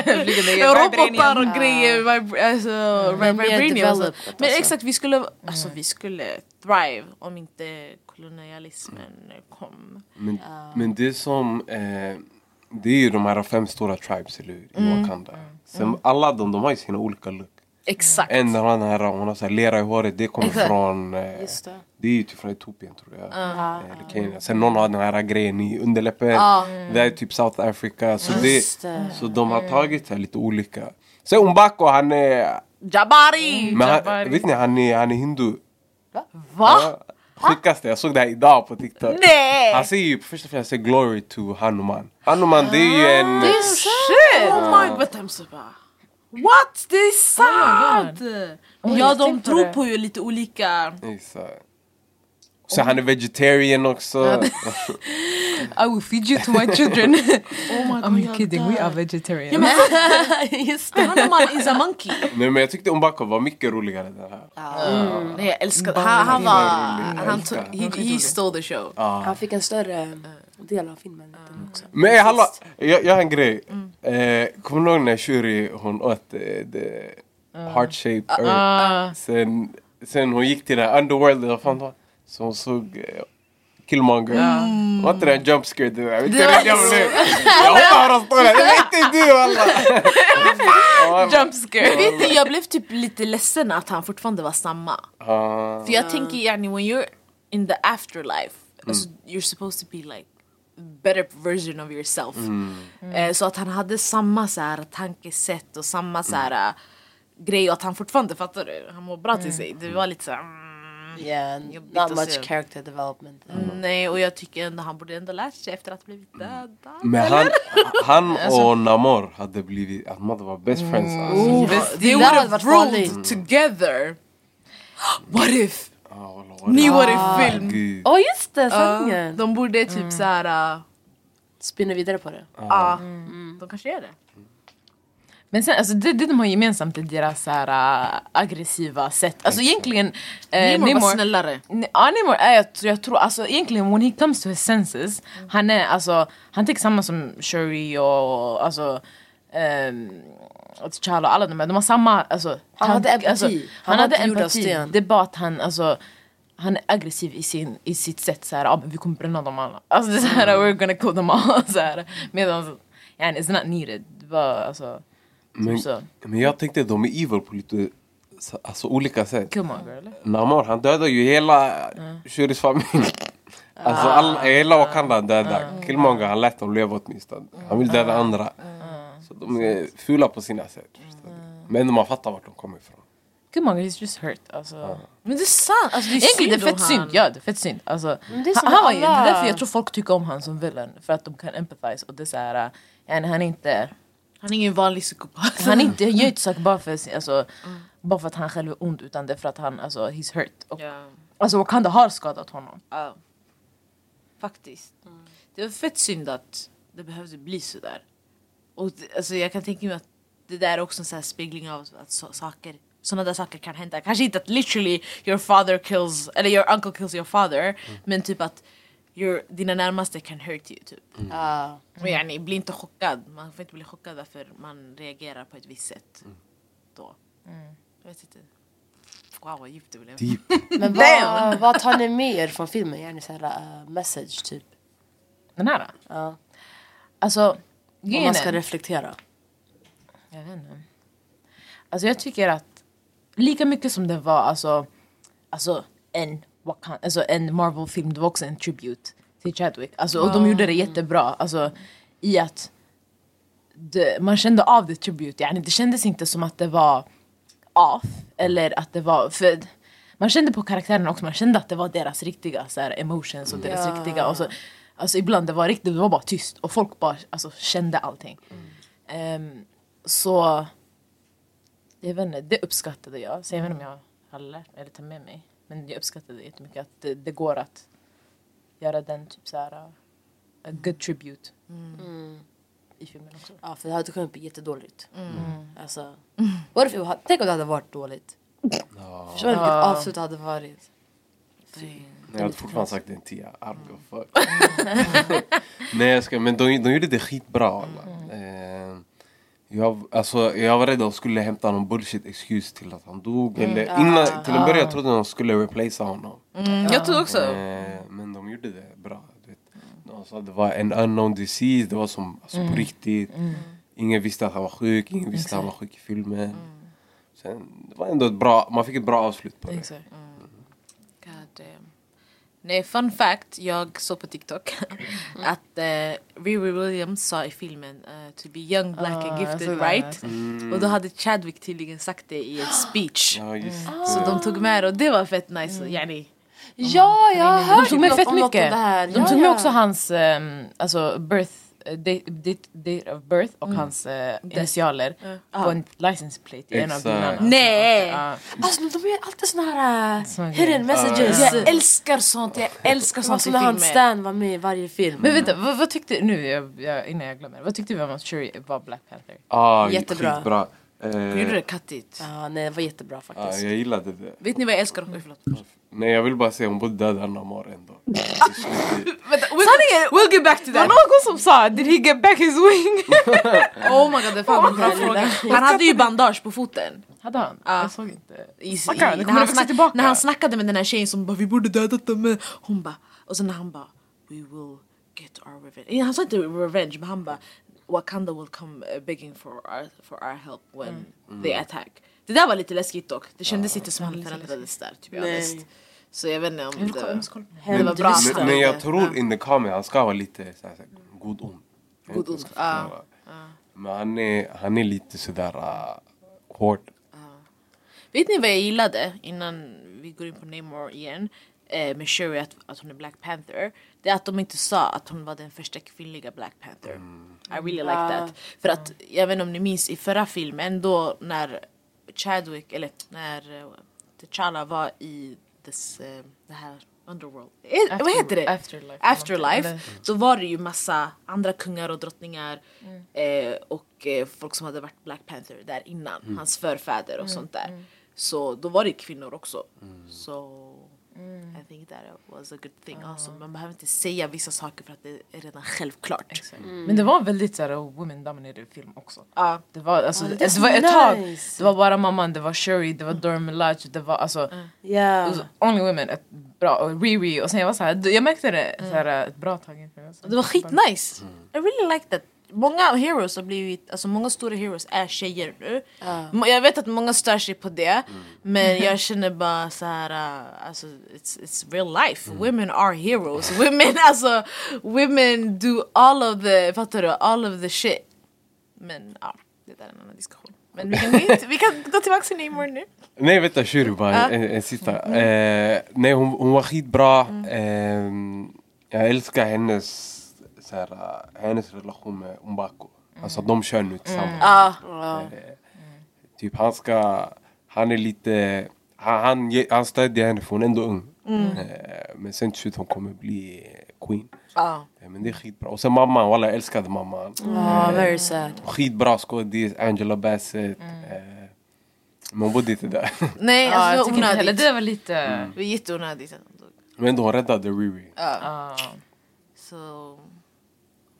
Robotar och grejer, vibra- alltså, Men mer vibranium och så. developed, Men alltså. exakt, vi skulle, alltså, vi skulle thrive om inte kolonialismen kom. Men, men det är som... Eh, det är ju de här fem stora tribes, eller hur? I Mm. Wakanda. Sen, Alla de, de har ju sina olika look. Exakt. En av den här, hon har så här lera i håret, det kommer Exakt. från... Eh, Just det. det är ju typ från Etiopien tror jag. Eh, Eller Kenya. Sen någon har den här grejen i underläppen. Det är typ South Africa. Så, det, Just det. så de har tagit så här lite olika. Sen Umbako, han är... Mm. Jabari! Men Jabari. han, vet ni, han är, han är hindu. Va? Ja, Alltså. Sjukaste, jag såg det här idag på TikTok. Ah. Nej! Han säger ju först och främst glory to Hanuman. Hanuman det är ju en... Shit! Oh my god, vänta jag måste bara... What? Det är sant! Oh, jag ja, har de tänkt på tror det. på ju lite olika... Exakt. Så han är vegetarian också. I will feed you to my children. Oh my god, I'm jag kidding, we dör. are vegetarian. Just det. Hanuman is a monkey. Nej men jag tyckte Umbako var mycket roligare än den här. Nej, jag älskar han, han var... Han tog, älskar. he, he stole the show. Han fick en större eh, del av filmen. Också. Men hallå, jag, jag har en grej. Eh, kommer du ihåg när Shuri hon åt eh, the Ah. heart shaped earth? Sen, sen hon gick till den här underworld, eller vad fan det var? Så hon såg eh, Killmonger. Var inte det en jump scare det där? Vet du Det vad var- Jag hoppar och står där. Det var inte du alla! Jump scare. Vet du, jag blev typ lite ledsen att han fortfarande var samma. Ah, För jag tänker yani, when you're in the afterlife, alltså, you're supposed to be like better version of yourself. Mm. Eh, så att han hade samma så här, tankesätt och samma så här, eh, grej och att han fortfarande, fattar du? Han mår bra till sig. Det var lite så här, mm, Yeah, Jobbigt not att se. much character development. Nej, och jag tycker ändå han borde ändå lärt sig efter att ha blivit dödad. Men han, han Alltså- och Namor hade blivit, att man var best friends alltså. They Oh, Det would där hade have varit ruled farligt. together. Mm. What if? Ah, wallah, wallah. Ni var i film. Gud. Åh just det, sanningen! de borde typ mm. såhär... Uh, Spinner vidare på det. ja, ah, Mm. De kanske gör det. Men sen, alltså, det, det de har gemensamt är deras så här, äh, aggressiva sätt. Alltså egentligen... Äh, Namor var snällare. Ne- Ja, Namor är jag, tr- jag tror, alltså egentligen when he comes to his senses, han är alltså, han tänker samma som Shuri och alltså ehm, och T'Challa och alla de här, de har samma alltså, Han hade tank- empati. Alltså, han, Han var hade inte gjord av empati, sten. det är bara att han alltså han är aggressiv i, sin, i sitt sätt såhär, ah, men vi kommer bränna dem alla. Alltså det är såhär, Mm. we're gonna kill them all. Såhär. Medan, yani, it's not needed. Det var alltså, Men, typ så. men jag tänkte de är evil på lite så- alltså, olika sätt. Come on girl. Namor han dödar ju hela Shuris familj. Alltså all, hela Wakanda är döda. Killmonger han lät dem leva åtminstone. Han vill döda andra. Så de är fula på sina sätt. förstår du? Men man fattar vart de kommer ifrån. Come on girl, he's just hurt. Alltså. Men det är sant! Alltså, det är Egentligen synd det är fett om synd. han. Ja, det är fett synd. Alltså, det är som han, han var, ju- det alla- är därför jag tror folk tycker om han som villain. För att de kan empathize. Och det är såhär, yani, han är inte... Han är ingen vanlig psykopat. Han, är inte, han gör inte saker bara för, sin- alltså, bara för att han själv är ond utan det är för att han alltså, he's hurt. Och, Ja. Alltså Wakanda har skadat honom. Ja. Faktiskt. Det var fett synd att det behövde bli sådär. Och det, alltså jag kan tänka mig att det där är också en sån här spegling av att så, saker, sådana där saker kan hända. Kanske inte att literally your father kills, eller your uncle kills your father. Men typ att your, dina närmaste kan hurt you typ. Ah. Men yani, bli inte chockad. Man får inte bli chockad därför man reagerar på ett visst sätt. Då. Jag vet inte. Wow vad djupt det blev. Deep. Men vad, vad tar ni med er från filmen? Gärna så här, eh, message typ. Den här? äh. Ja. Alltså, Om grejen man ska är- reflektera. Jag vet inte. Alltså jag tycker att lika mycket som det var alltså, alltså en, Wakan- alltså en Marvel-film, det var också en tribute till Chadwick. Alltså, och de gjorde det jättebra. Alltså, I att det, man kände av det tribute. Yani, det kändes inte som att det var off. Eller att det var... För man kände på karaktären också, man kände att det var deras riktiga så här, emotions och deras riktiga... Och så, alltså ibland det var riktigt, det var bara tyst och folk bara alltså, kände allting. Ehm, så... Jag vet inte, det uppskattade jag. Så jag vet inte om jag har lärt mig eller tagit med mig. Men jag uppskattade jättemycket att det, det går att göra den typ så här... uh, A good tribute. I filmen också. Mm. Ja, för det hade kunnat bli jättedåligt. Alltså, what if it, had- tänk om det hade varit dåligt. Förstår du vilket avslut det hade varit? Jag hade fortfarande sagt en tia. I'll go fuck. Nej jag ska, men de, de gjorde det skitbra alla. Mm. Eh, jag, alltså, jag var rädd att de skulle hämta någon bullshit excuse till att han dog. Mm. Eller, innan, till en början trodde jag de skulle replacea honom. Mm. Jag tror Ah. också. Eh, men de gjorde det bra. Du vet. De sa att det var en unknown disease, det var som alltså, Mm. på riktigt. Ingen visste att han var sjuk, ingen visste att han var sjuk i filmen. Mm. Sen, det var ändå ett bra, man fick ett bra avslut på det. Exakt. God damn. Nej, fun fact. Jag såg på TikTok att eh, Riri Williams sa i filmen eh, to be young, black Ah, and jag såg gifted, det. right? Och då hade Chadwick tydligen sagt det i en speech. Mm. Ja, just Ah. Så det. de tog med det och det var fett nice. Yani, Ja, jag har hört De tog med något fett om något om mycket. det här. De Ja, tog med ja. också hans ehm, alltså birth, eh, date, date, date of birth och hans eh, initialer på en license plate i en av Exakt. bilarna. Nej! Ja. Alltså de gör alltid såna här Såna uh, grejer. hidden messages. Uh, jag älskar sånt, jag älskar sånt i Som när han filmer. Stan var med i varje film. Men vänta, vad, vad tyckte, nu jag, jag, innan jag glömmer, vad tyckte vi om att Shuri var Black Panther? Ah, Jättebra. Skitbra. Eh, Gjorde det kattigt. Ja, nej, det var jättebra ja, faktiskt. jag gillade det. Vet ni vad jag älskar? Oj, förlåt. Nej, jag vill bara säga hon borde döda Namor ändå. Vänta, we'll, we'll get back to that. någon som sa did he get back his wing? Oh my god, det är fan en bra my god. fråga. Han hade ju bandage på foten. Hade han? Ja. Jag såg inte. i, i, Stackarn, det när, kommer han växa snack, tillbaka. när han snackade med den här tjejen som bara vi borde dödat dem. men-" Hon bara, och sen när han bara we will get our revenge. Eh, Han sa inte revenge men han bara Wakanda will come eh, begging for our, for our help when they attack. Det där var lite läskigt dock. Mm. Det kändes inte som han förändrades där to be Nej. honest. Så jag vet inte om Jag det... måste kolla på det. Det var bra. Men, men jag tror in the camera, han ska vara lite såhär, såhär, god ond. Jag vet inte hur jag ska Ah, förklara. Men han är, han är lite sådär uh, hård. Vet ni vad jag gillade innan vi går in på Namor igen? Eh, med Shuri att, att hon är Black Panther. Det är att de inte sa att hon var den första kvinnliga Black Panther. I really like that. För att jag vet inte om ni minns i förra filmen då när Chadwick eller när eh, T'Challa var i this, eh, det här Underworld. Eh, vad heter det? Afterlife. Afterlife. Eller- Då var det ju massa andra kungar och drottningar eh, och eh, folk som hade varit Black Panther där innan. Hans förfäder och sånt där. Så då var det kvinnor också. Så I think that it was a good thing also. Man behöver inte säga vissa saker för att det är redan självklart. Men det var en väldigt så här, oh, women dominated film också. Ja. Det var, alltså, Ah, det det är var ett tag, nice. det var bara mamman, det var Sherry, det var Dora Milaje, det var alltså Ah. it Yeah. was Only Women, ett bra, och Riri och sen jag var så här, jag märkte det så här, ett bra tag inför. Alltså. Mm. Det var skitnice. I really like that. Många heroes har blivit, alltså många stora heroes är tjejer nu. Ah. Må- Jag vet att många stör sig på det, men Mm. jag känner bara så här, uh, alltså it's, it's real life. Mm. Women are heroes. Women, alltså, women do all of the, fattar du? All of the shit. Men ja, det där är en annan diskussion. Men vi kan, gå in- vi kan gå tillbaka till Neymar nu. Nej vänta, Shuri bara, Ah. en, en sista. Eh, nej hon, hon var skitbra. Mm. Eh, jag älskar hennes, så här, eh, hennes relation med Umbako. Alltså de kör nu tillsammans. Ah, Ja, Typ han ska, han är lite, han, han, ge- han stödjer henne för hon är ändå ung. Mm. Eh, men sen till slut hon kommer bli eh, queen. ja. Mm. Eh, Men det är skitbra. Och sen mamman, walla jag älskade mamman. Ah, very sad. Skitbra skådis, Angela Bassett. Mm. Eh, men hon bodde inte där. Nej, Ja, jag alltså tycker det inte var heller, onödigt. Mm. det var lite... Det var jätteonödigt att de dog. men ändå hon räddade Riri. ah, Så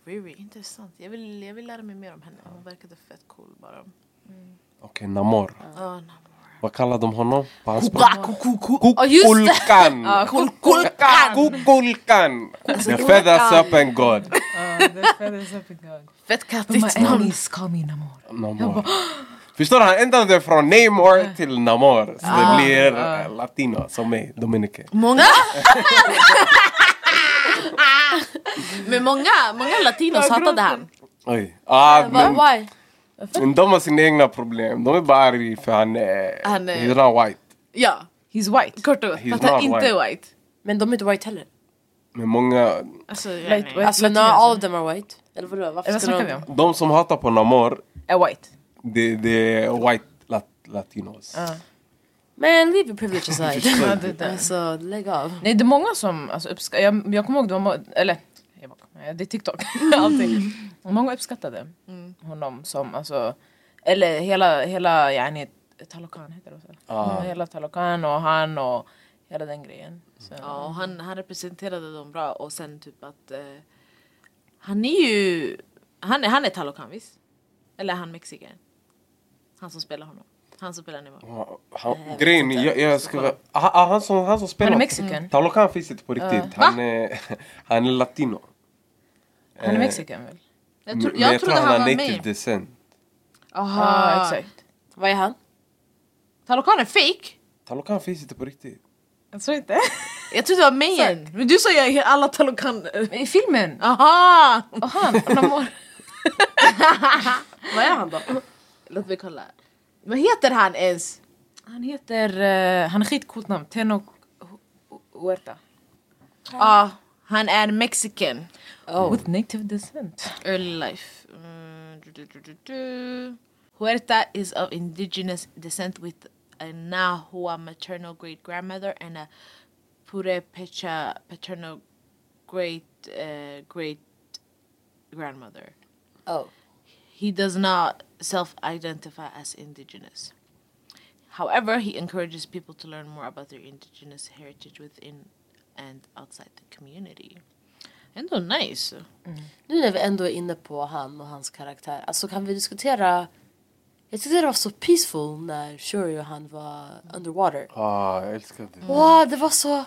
Riri, intressant. Jag vill, jag vill lära mig mer om henne. Hon verkade fett cool bara. Okej, Namor. Oh, no. Vad kallar de honom? På hans Ja, just det. Kukulkan! Ja, Kukulkan. Kukulkan! The feathers up and god. the feathers up and gone. Fett My kattigt namn. enemies call me Namor. Namor. Förstår du? Han ändrade från Namor till Namor. Så det blir eh, latino som mig, Dominique. Många... Men många, många latinos hatade han. Oj. Ah, men Why? men de har sina egna problem. De är bara arga för han är... Han är- He's not eh, white. Ja, He's white. kort och He's gott. För att han not inte är white. Men de är inte white heller. Men många... Alltså, jag, Light- nej. Alltså Latin no, alltså. all of them are white. Eller vadå? Varför Eh, Vad skulle snackar de... vi om? De som hatar på Namor, Är white. det det är white lat latinos. Man, leave your privilege aside. Ja, det där. alltså, lägg av. Nej det är många som alltså, uppskattar, jag, jag kommer ihåg det var må- eller jag bara, nej, det är TikTok, allting. Många uppskattade honom som alltså, eller hela, hela yani, Talokan heter det väl? Ah. Hela Talokan och han och hela den grejen. Så, Ja, och han, han representerade dem bra och sen typ att... Eh, han är ju... Han är, han är Talocan visst? Eller är han mexikan? Han som spelar honom. Han som spelar Nemo. Han, grejen, jag, jag ska, ah, ah, han, som, han som spelar... Han är mexican. Talocan finns inte på riktigt. Han, är, han är eh, latino. Han är Eh, mexikan väl? Jag, tro, men jag trodde tror han har var native med. descent. Aha. Ja exakt. Vad är han? Talocan är fake? Talocan finns inte på riktigt. Jag tror inte. Jag trodde det var Mayen. Men du sa jag är alla Talocan... Men I filmen! Aha! Och han, och Namor. Vad är han då? Låt mig kolla. Vad heter han ens? Han heter, eh, han har skitcoolt namn, Tenok Huerta. Ja, han är mexican. With native descent. Early life. Mm, du, du, du, du, du. Huerta is of indigenous descent with a Nahua maternal great grandmother and a Purepecha paternal great uh, great grandmother. Oh. He does not self identify as indigenous. However, he encourages people to learn more about their indigenous heritage within and outside the community. Ändå nice. Nu när vi ändå är inne på han och hans karaktär. Alltså kan vi diskutera... Jag tyckte det var så peaceful när Shuri och han var underwater. Ah, jag älskar det. Wow, det var så... Oh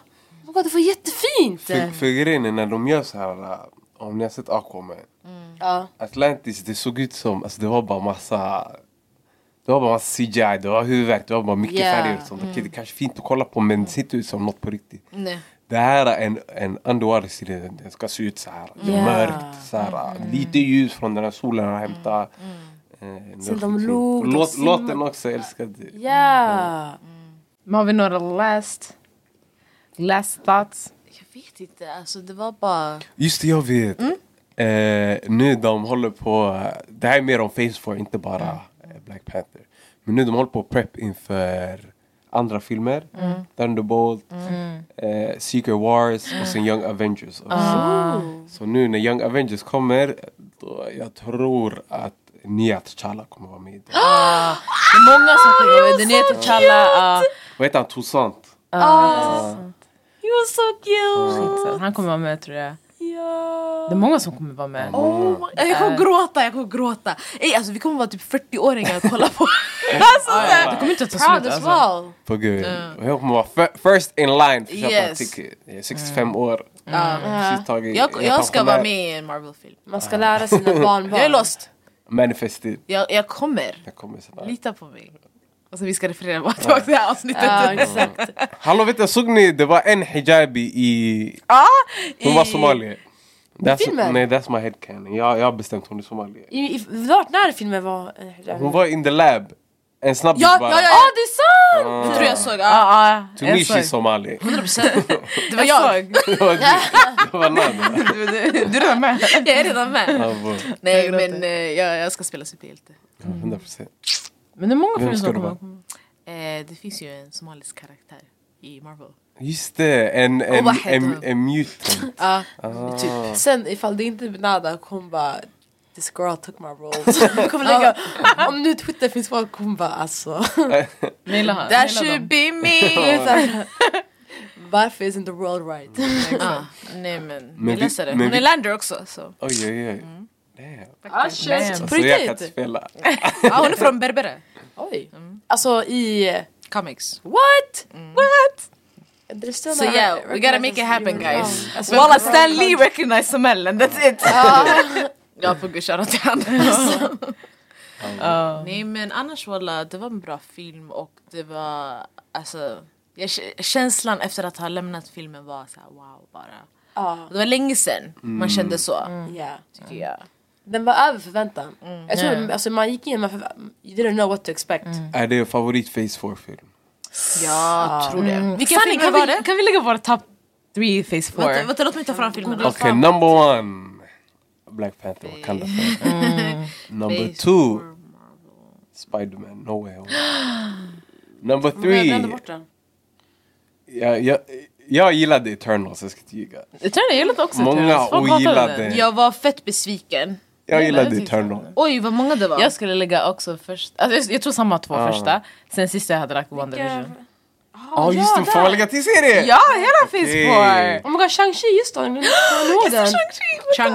my God, det var jättefint! För, för grejen är när de gör så här, äh, om ni har sett Aquaman. Ja. Atlantis, det såg ut som, alltså det var bara massa det var bara massa CGI, det var huvudvärk, det var bara mycket Ja. mm. färger och sånt. Okej, det kanske är fint att kolla på men det ser inte ut som något på riktigt. Nej. Det här är en, en underwater serie, den- den ska se ut så här. Det är Ja. Mm, mörkt, så här, lite ljus från den här solen han hämtar. Eh, Sen det Mm, de var fint. log, de Låt, simmade. låten också, jag älskade det. Ja! Men har vi några last, last thoughts? Jag vet inte, alltså det var bara... Just det, jag vet. Mm. Eh, nu de håller på, det här är mer om Phase 4, inte bara eh, Black Panther. Men nu de håller på att prep inför andra filmer. Mm. Thunderbolt, eh, Secret Wars och sen Young Avengers. Också. Ah. Så nu när Young Avengers kommer, då jag tror att Nia T'Challa kommer vara med. i den. Ah! Det är många som kommer. Den heter Challa. Vad heter han? Toussaint? Mm. ah, ah. You was so cute! Skitsamma. Han kommer vara med tror jag. Ja. Det är många som kommer vara med. Oh my- jag kommer gråta, jag kommer gråta. Ey, alltså, vi kommer vara typ 40-åringar och kolla på. alltså, så här. Det kommer inte att ta Proud slut as alltså. well. På gud. Och jag kommer vara fir- first in line för att köpa Yes. Mm. en ticket. Jag är 65 år. Jag har precis tagit- jag, är jag ska vara pensionär. med i en Marvel-film. Man ska lära sina barnbarn. Jag är lost. Manifested. Jag, jag kommer. Jag kommer sådär. Lita på mig. Alltså, vi ska referera bara tillbaka till det här avsnittet. Ja, exakt. Hallå vet du, såg ni det var en hijabi i... Ja, Hon var somalier. That's, filmen? nej, that's my headcanon. Jag, jag har bestämt hon är somalier. I, i, vart när filmen var... eh, Hon var in the lab. En snabbis Ja, bara. ja, ja, Ja, det är sant! jag tror jag såg. Ja, Ja, ja, To jag me she's såg. somali. det var jag. Det var du. Det var Nana. Du, du, du är redan med. Jag är redan med. Ja, bro. Nej, men eh, jag, jag ska spela superhjälte. Ja, 100%. Men det är många Vem filmer som ska det kommer. Eh, det finns ju en somalisk karaktär i Marvel. Just det, en, en, vad heter en, hon? en, mutant. Ja, Ah. typ. Sen ifall det inte blir nada kommer bara This girl took my roles. Hon kommer lägga, om nu Twitter finns kvar kommer bara alltså. Naila han. That naila should dem. be me! Varför isn't the world right? Mm. ah, nej men, vi vi- läser det. men Hon är vi- lander också. Så. Oj, oj, oj. Mm. Ah, Damn. Nej. shit. På Alltså, jag kan inte riktigt? spela. Ah, hon är från Berbera. Oj. Mm. Alltså i... Comics. What? Mm. What? So So yeah, we gotta make it happen guys. Alltså, Walla Stan Lee recognized Samel and that's it. ja, får gud shoutout till honom. Alltså. Ja. Nej men annars walla, det var en bra film och det var alltså jag, k- känslan efter att ha lämnat filmen var så här, wow bara. Ja. Det var länge sedan man kände så. Ah, Yeah. Tycker jag. Den var över förväntan. Jag tror, Ja. alltså, man gick in med förvä- You didn't know what to expect. Är Äh, det favorit Phase 4-film? Jag tror det. Vilken Sanning, film kan, var vi, det? kan vi lägga våra top three face four? Vänta, vänta, låt mig ta fram filmen. Okej, number one. Black Panther, Wakanda Forever. Number two. Spider-Man, No Way Home. Number Brände three. bort den. Jag, jag, jag gillade Eternals, jag ska inte ljuga. Jag tror jag gillade också Många Eternals. Folk hatade ogillade. den. Jag var fett besviken. Jag Nej, gillade det tyckte jag Eternals. Oj vad många det var. Jag skulle lägga också först, alltså jag, jag tror samma två Ja. första, sen sista jag hade lagt WandaVision. Ja, just det. Får man lägga till serien? Ja, hela face Okej. four! Oh my god, Shang-Chi just då. Jag kommer ihåg den.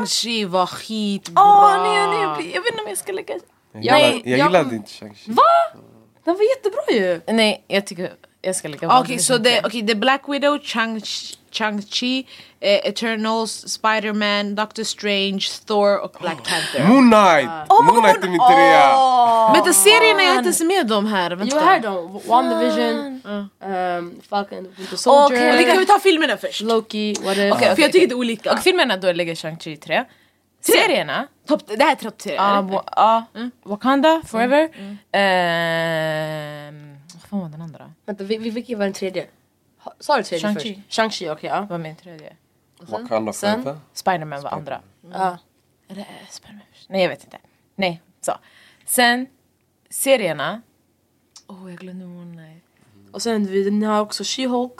Chang-Chi var skitbra. Alltså, Åh nej, nej, jag, blir, jag vet inte om jag ska lägga... Jag, gillade, Nej, jag jag- gillade inte Shang-Chi. Den var jättebra ju. Nej, jag tycker jag ska lägga Okej, WandaVision så det till. okay, det är Black Widow, Chang- Chang-Chi, eh, Eternals, Spider-Man, Doctor Strange, Thor och Black Panther. Moon Knight! Moon Knight är min trea! Vänta, serierna är jag inte ens med dem här. Vänta. Jo här då, uh, WandaVision, um, Falcon, Winter Soldier, Okej, okay, kan vi ta filmerna först? Okej, Loki, what if. för jag tycker det är olika. Och filmerna då lägger Shang-Chi i tre. Serierna? Topp- det här är topp tre. Ja, mm. eller? Wa- ja, mm. Wakanda forever. Ehm, vad fan var den andra? Vänta, vi, vi, vilken var den tredje? Ha- Sa du tredje Shang-Chi. Mm. först? Shang-Chi, okej ja. Vad var min tredje? Wakanda Sen- Forever. Spiderman var andra. Ja. Eller är det Spiderman först? Nej jag vet inte. Nej, så. Sen serierna. Åh Oh, jag glömde Moon Knight. Och sen vi, ni har också She-Hulk,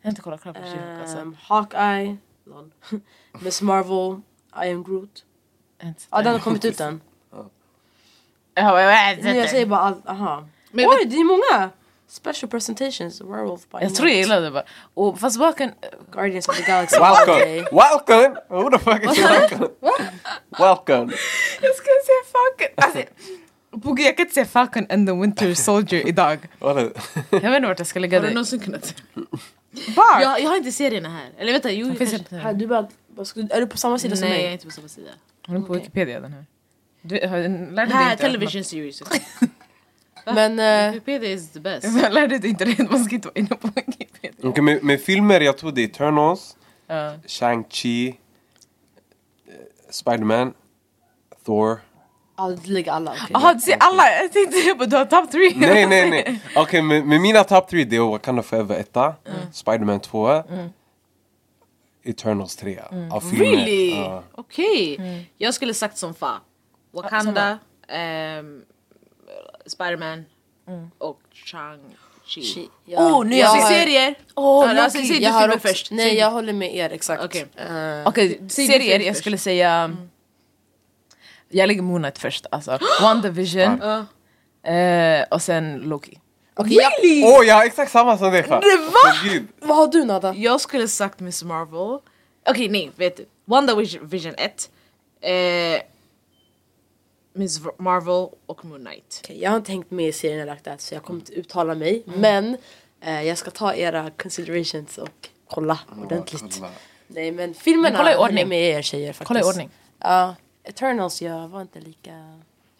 Jag har inte kollat klart på She-Hulk alltså. um, Hawkeye, lol. Miss Marvel, I am Groot. Jag har inte sett Ja, den den. har kommit ut än. Ja, jag har inte Nu jag sett säger den. bara allt, aha. Men Oj, det är många! Special presentations, Werewolf by Jag tror jag gillade det bara. Och fast Wakan... Guardians of the Galaxy. Welcome! Welcome! Who the fuck is welcome? Welcome! Jag ska se Falcon! Alltså, Boogie, jag kan inte se Falcon and the Winter Soldier idag. Vad är Jag vet inte vart jag ska lägga Har du det. någonsin kunnat? Var? Jag, jag har inte serierna här. Eller vänta, jo. jag Finns kanske- inte Här, du bara, vad ska du- är du på samma sida som Nej, jag är mig? inte på samma sida. Hon är på Wikipedia den här. Du, har, lärde du dig Här, inte television series. Men eh, Wikipedia is the best. att man- Lärde du dig inte det? att Man ska inte vara inne på Wikipedia. okay, med, med filmer, jag tror det är Eternals, Ja. Shang-Chi, eh, Spider-Man, Thor. aldrig alla. okej. Jaha, du ser alla! Jag tänkte jag bara, du har top three. Nej, nej, nej. Okej, med, med mina top three det är Wakanda Forever etta, Mm. Spider-Man 2, Eternals 3. Mm. Av filmer. Really? Ja. Okej. Jag skulle sagt som fa. Wakanda, ehm, Spiderman och Chang-Chi. Shit, ja. Oh, nu Mm. jag ser har- serier! Ja, Åh, alltså, Loki, säg du jag har filmen också- först. Nej, jag håller med er exakt. Okej. Eh, Okej, Mm. Säg din serier. film Jag först. skulle säga... Jag lägger Moon Knight först. Alltså. WandaVision. eh, och sen Loki. Okej, jag- Åh, jag har exakt samma som dig! fan. Det var- Åh, gud. Vad har du Nada? Jag skulle sagt Miss Marvel. Okej nej, vet du. WandaVision 1. Eh, Miss Marvel och Moon Knight. Okej, jag har inte hängt med i serien like that så jag kommer inte uttala mig. Men eh, jag ska ta era considerations och kolla ordentligt. Kolla. Nej men filmerna Men kolla i håller ordning. med er tjejer faktiskt. Kolla i ordning. Ja, Eternals jag var inte lika...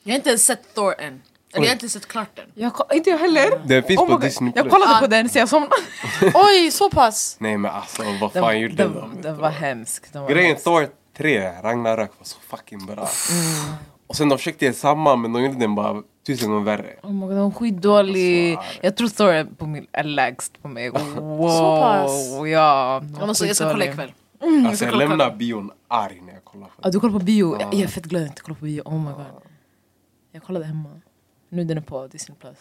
Jag har inte ens sett Thor än. Eller jag har inte sett klart den. Jag, ko- inte jag heller. Den finns Oh på my God. Disney+. Jag kollade Ah. på den så jag somnade. Oj, så pass! Nej men alltså vad Den, fan gjorde den, de? den var hemsk. Den var Grejen hemsk. Thor 3, Ragnarök var så fucking bra. Och sen de försökte göra samma men de gjorde den bara tusen gånger värre. Oh my god, den var skitdålig. Alltså, Jag tror Thor är, på min, är lägst på mig. Wow. Så pass. Ja, den var Jag, måste, jag ska kolla skitdålig. ikväll. Alltså jag lämnar bion arg när jag kollar på Ja, den. du kollar på bio. Jag, jag är fett glad att jag inte kollar på bio. Oh my god. Jag kollade hemma. Nu den är på Disney+. Plus.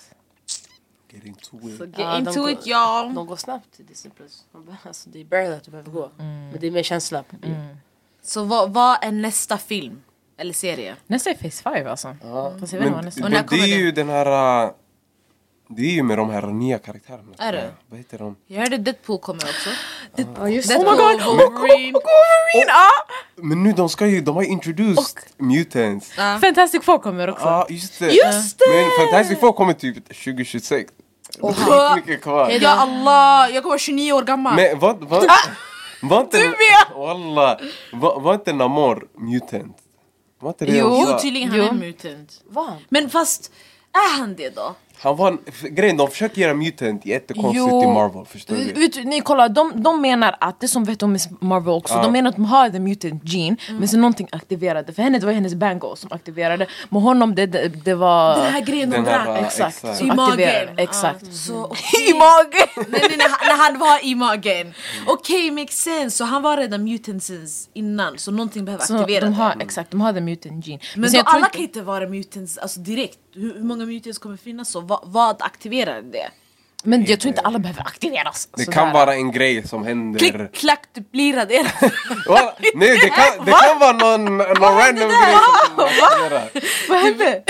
Get into it. So get Ja, de into går- it y'all. De går snabbt till Disney+. Plus. De bara, Alltså, det är bara att du behöver gå. Men det är mer känsla på bio. Så vad, vad är nästa film? Eller serie? Nästa är Phase 5 alltså. Fast jag vet inte vad Men, nästa Och men när det kommer är ju den här... äh, Det är ju med de här nya karaktärerna. Är det? tror jag. Vad heter de? Jag hörde Deadpool kommer också. Ja, just Deadpool, Oh det. Wolverine. Men nu de ska ju, de har ju introduced mutants. Ja. Fantastic Four kommer också. Ja just det. Just Men Fantastic Four kommer typ 2026. Och Det är inte mycket kvar. Ja Allah, jag kommer vara 29 år gammal. Men vad... vad var inte... Du Ah. vet! Walla! Var, var inte Namor mutant? Var inte det jo, också- tydligen han Jo. är en mutant. Va? Men fast, är han det då? Han var... en- f- Grejen, de försöker göra mutant jättekonstigt Jo. Mm, i Marvel, förstår Vet- du? Vet du, nej, kolla, de, de menar att, det som vet om Miss Marvel också, de menar att de har the mutant gene men så någonting aktiverade. För henne det var hennes bango som aktiverade, men honom det, det, det var... Den här grejen de Den här drack. var- exakt, exakt. som I magen. aktiverade. Exakt. Ah, så, I magen! nej, nej, när, han- när han var i magen. Okej, makes sense. Så han var redan mutant since innan, så någonting behöver Så aktivera de har, det. exakt, de har the mutant gene. Men så då, jag tror alla inte- kan inte vara mutants alltså direkt. Hur, hur många mutants kommer finnas? Så vad, vad aktiverar det? men jag tror inte alla behöver aktiveras. Det sådär. kan vara en grej som händer... Klick, klack, du blir raderad. Walla, nej, det kan, det kan vara någon, någon random grej som kommer att göra. Vad hände?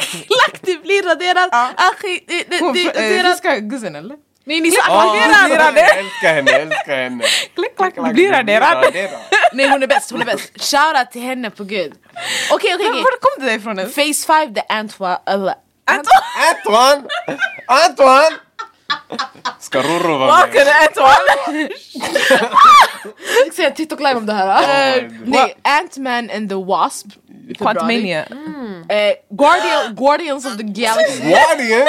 Klick, klack, du blir raderad. Achi, det, det, Hon- det, eh, raderad. Fiskar gussen eller? Nej, ni är så Ah, aktiverade. Jag älskar henne, jag älskar henne. Klick klack, du blir raderad. Nej hon är bäst, hon är bäst. Shoutout till henne på gud. Okej okej Men okej. Var kom det ifrån ens? Phase 5 the uh, Antwa... eller- Antoine! Antoine! Ska Rorro vara med? Jag ska säga TikTok live om det här. Eh, God. Nej, Ant-Man and the Wasp. Quantumania. Eh, Guardian, Guardians of the Galaxy. Guardian!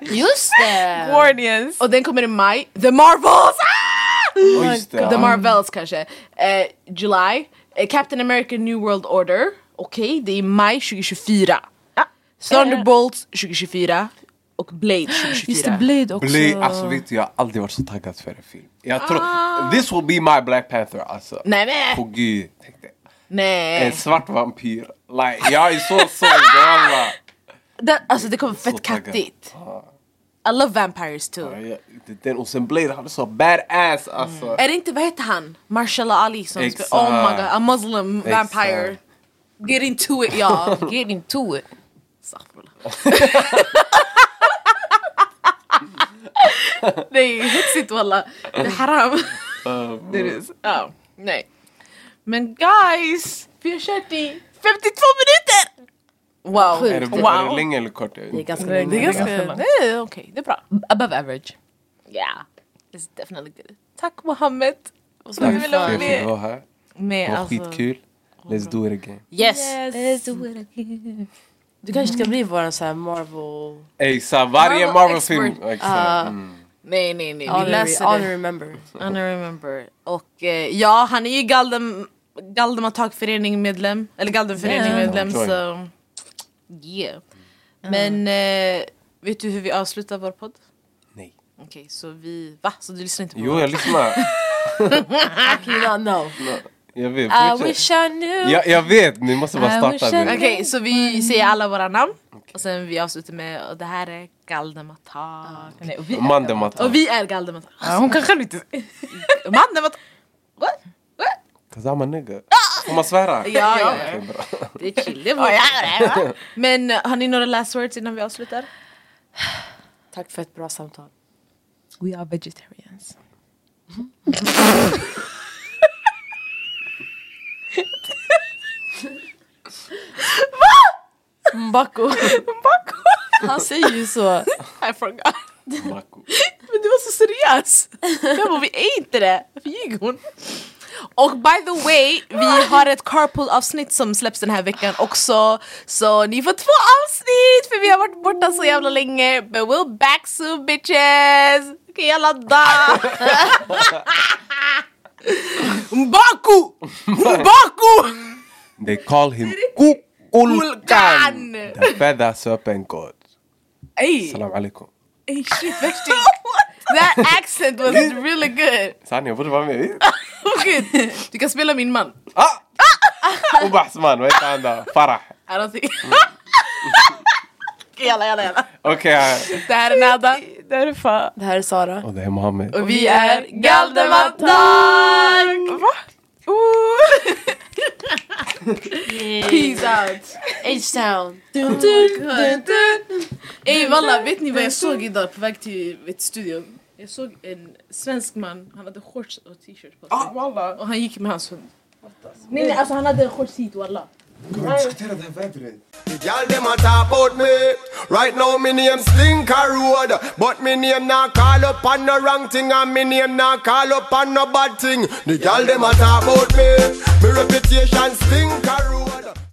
Just det! Guardians. Och den kommer i maj. The Marvels! Ah! Oh, just det, The ja. Marvels kanske. Eh, July. Eh, Captain America New World Order. Okej, det är i maj 2024. Thunderbolts 2024. Och Blade 2024. Just det, Blade också. Bli, alltså vet du, jag har aldrig varit så taggad för en film. Jag tror, this will be my Black Panther alltså. Nej Eh. men! På gud, tänkte jag. Nej. En svart vampyr. Like, jag är så såld walla. Den, alltså det kommer Så fett taggad. kattigt. Ja. I love vampires too. Ja, jag- Den och sen Blade, han är så badass alltså. Är det inte, vad heter han? Marshall Ali som Exakt. spelar, oh my god, a muslim Exakt. vampire. Get into it y'all, get into it. Astaghfirullah. nej, hetsigt walla. Det är haram. Uh, Det är det. Ja, nej. Men guys, vi har kört i 52 minuter! Wow. är, det, wow. är det länge eller kort? Jag vet Det är inte. ganska Det är Det är länge. ganska, Det är ganska nej, okej, det är bra. Above average. Yeah, it's definitely good. Tack Mohammed. Och så Tack vill för jag vara att jag fick med. vara här. Det med var alltså. skitkul. Let's do it again. Yes! Yes. Du kanske ska bli våran så här Marvel... Ey, så varje Marvel Marvel-film. expert. Exakt. Mm. Nej, nej, nej. Vi Honor, läser honor det. remember. Honor remember. Och eh, ja, han är ju Galdem, Galdematakförening medlem. Eller Galdenförening Yeah. medlem. Join. Så yeah. Men eh, vet du hur vi avslutar vår podd? Nej. Okej, så vi... Va? Så du lyssnar inte på Jo, jag lyssnar. You not know. Jag vet. I fortsätt. wish I knew. Jag, jag vet, ni måste bara I starta wish I- det. Okej, så vi säger alla våra namn. Och sen vi avslutar med och det här är Galdematak. Nej, och vi- Mandemata. Och vi är Galdematak. Ja, Hon kan själv inte... Mandematak! What? What? Cause I'm a nigga. Får man svära? Ja, ja. Okej, bra. Det är chill, det var Men eh, har ni några last words innan vi avslutar? Tack för ett bra samtal. We are vegetarians. Mbako. Han säger ju så. I forgot. Baku. Men du var så seriös! Jag bara, vi är inte det! Varför ljuger hon? Och by the way, vi har ett carpool avsnitt som släpps den här veckan också Så ni får två avsnitt för vi har varit borta så jävla länge But we'll back soon bitches! Okej jag laddar! Mbaku! Mbaku! They call him Kukulkan. Kulkan. The feather serpent god. Ey, Salam alaikum. ey shit värsting! That accent was really good! Oh, Sanni jag borde vara med. Gud, Du kan spela min man Ah! Oba Hasman, vad heter han då? Farah. I don't think... Jalla, jalla, jalla. Okej. ja. Det här är Nada. Det här är Sara. Och det är oh, Mohammed. Och vi är Galdematank! Va? Oh. Peace out! H-Town. Ey walla, vet ni vad jag såg idag på väg till ett studion? Jag såg en svensk man, han hade shorts och t-shirt på sig. Walla. Och han gick med hans hund. Nej nej alltså han hade en shorts hit walla. Y'all dem a talk about me Right now me name Slinker Road But me name not call up on no wrong thing And me name not call up on no bad thing The y'all dem a talk about me Me reputation Slinker Road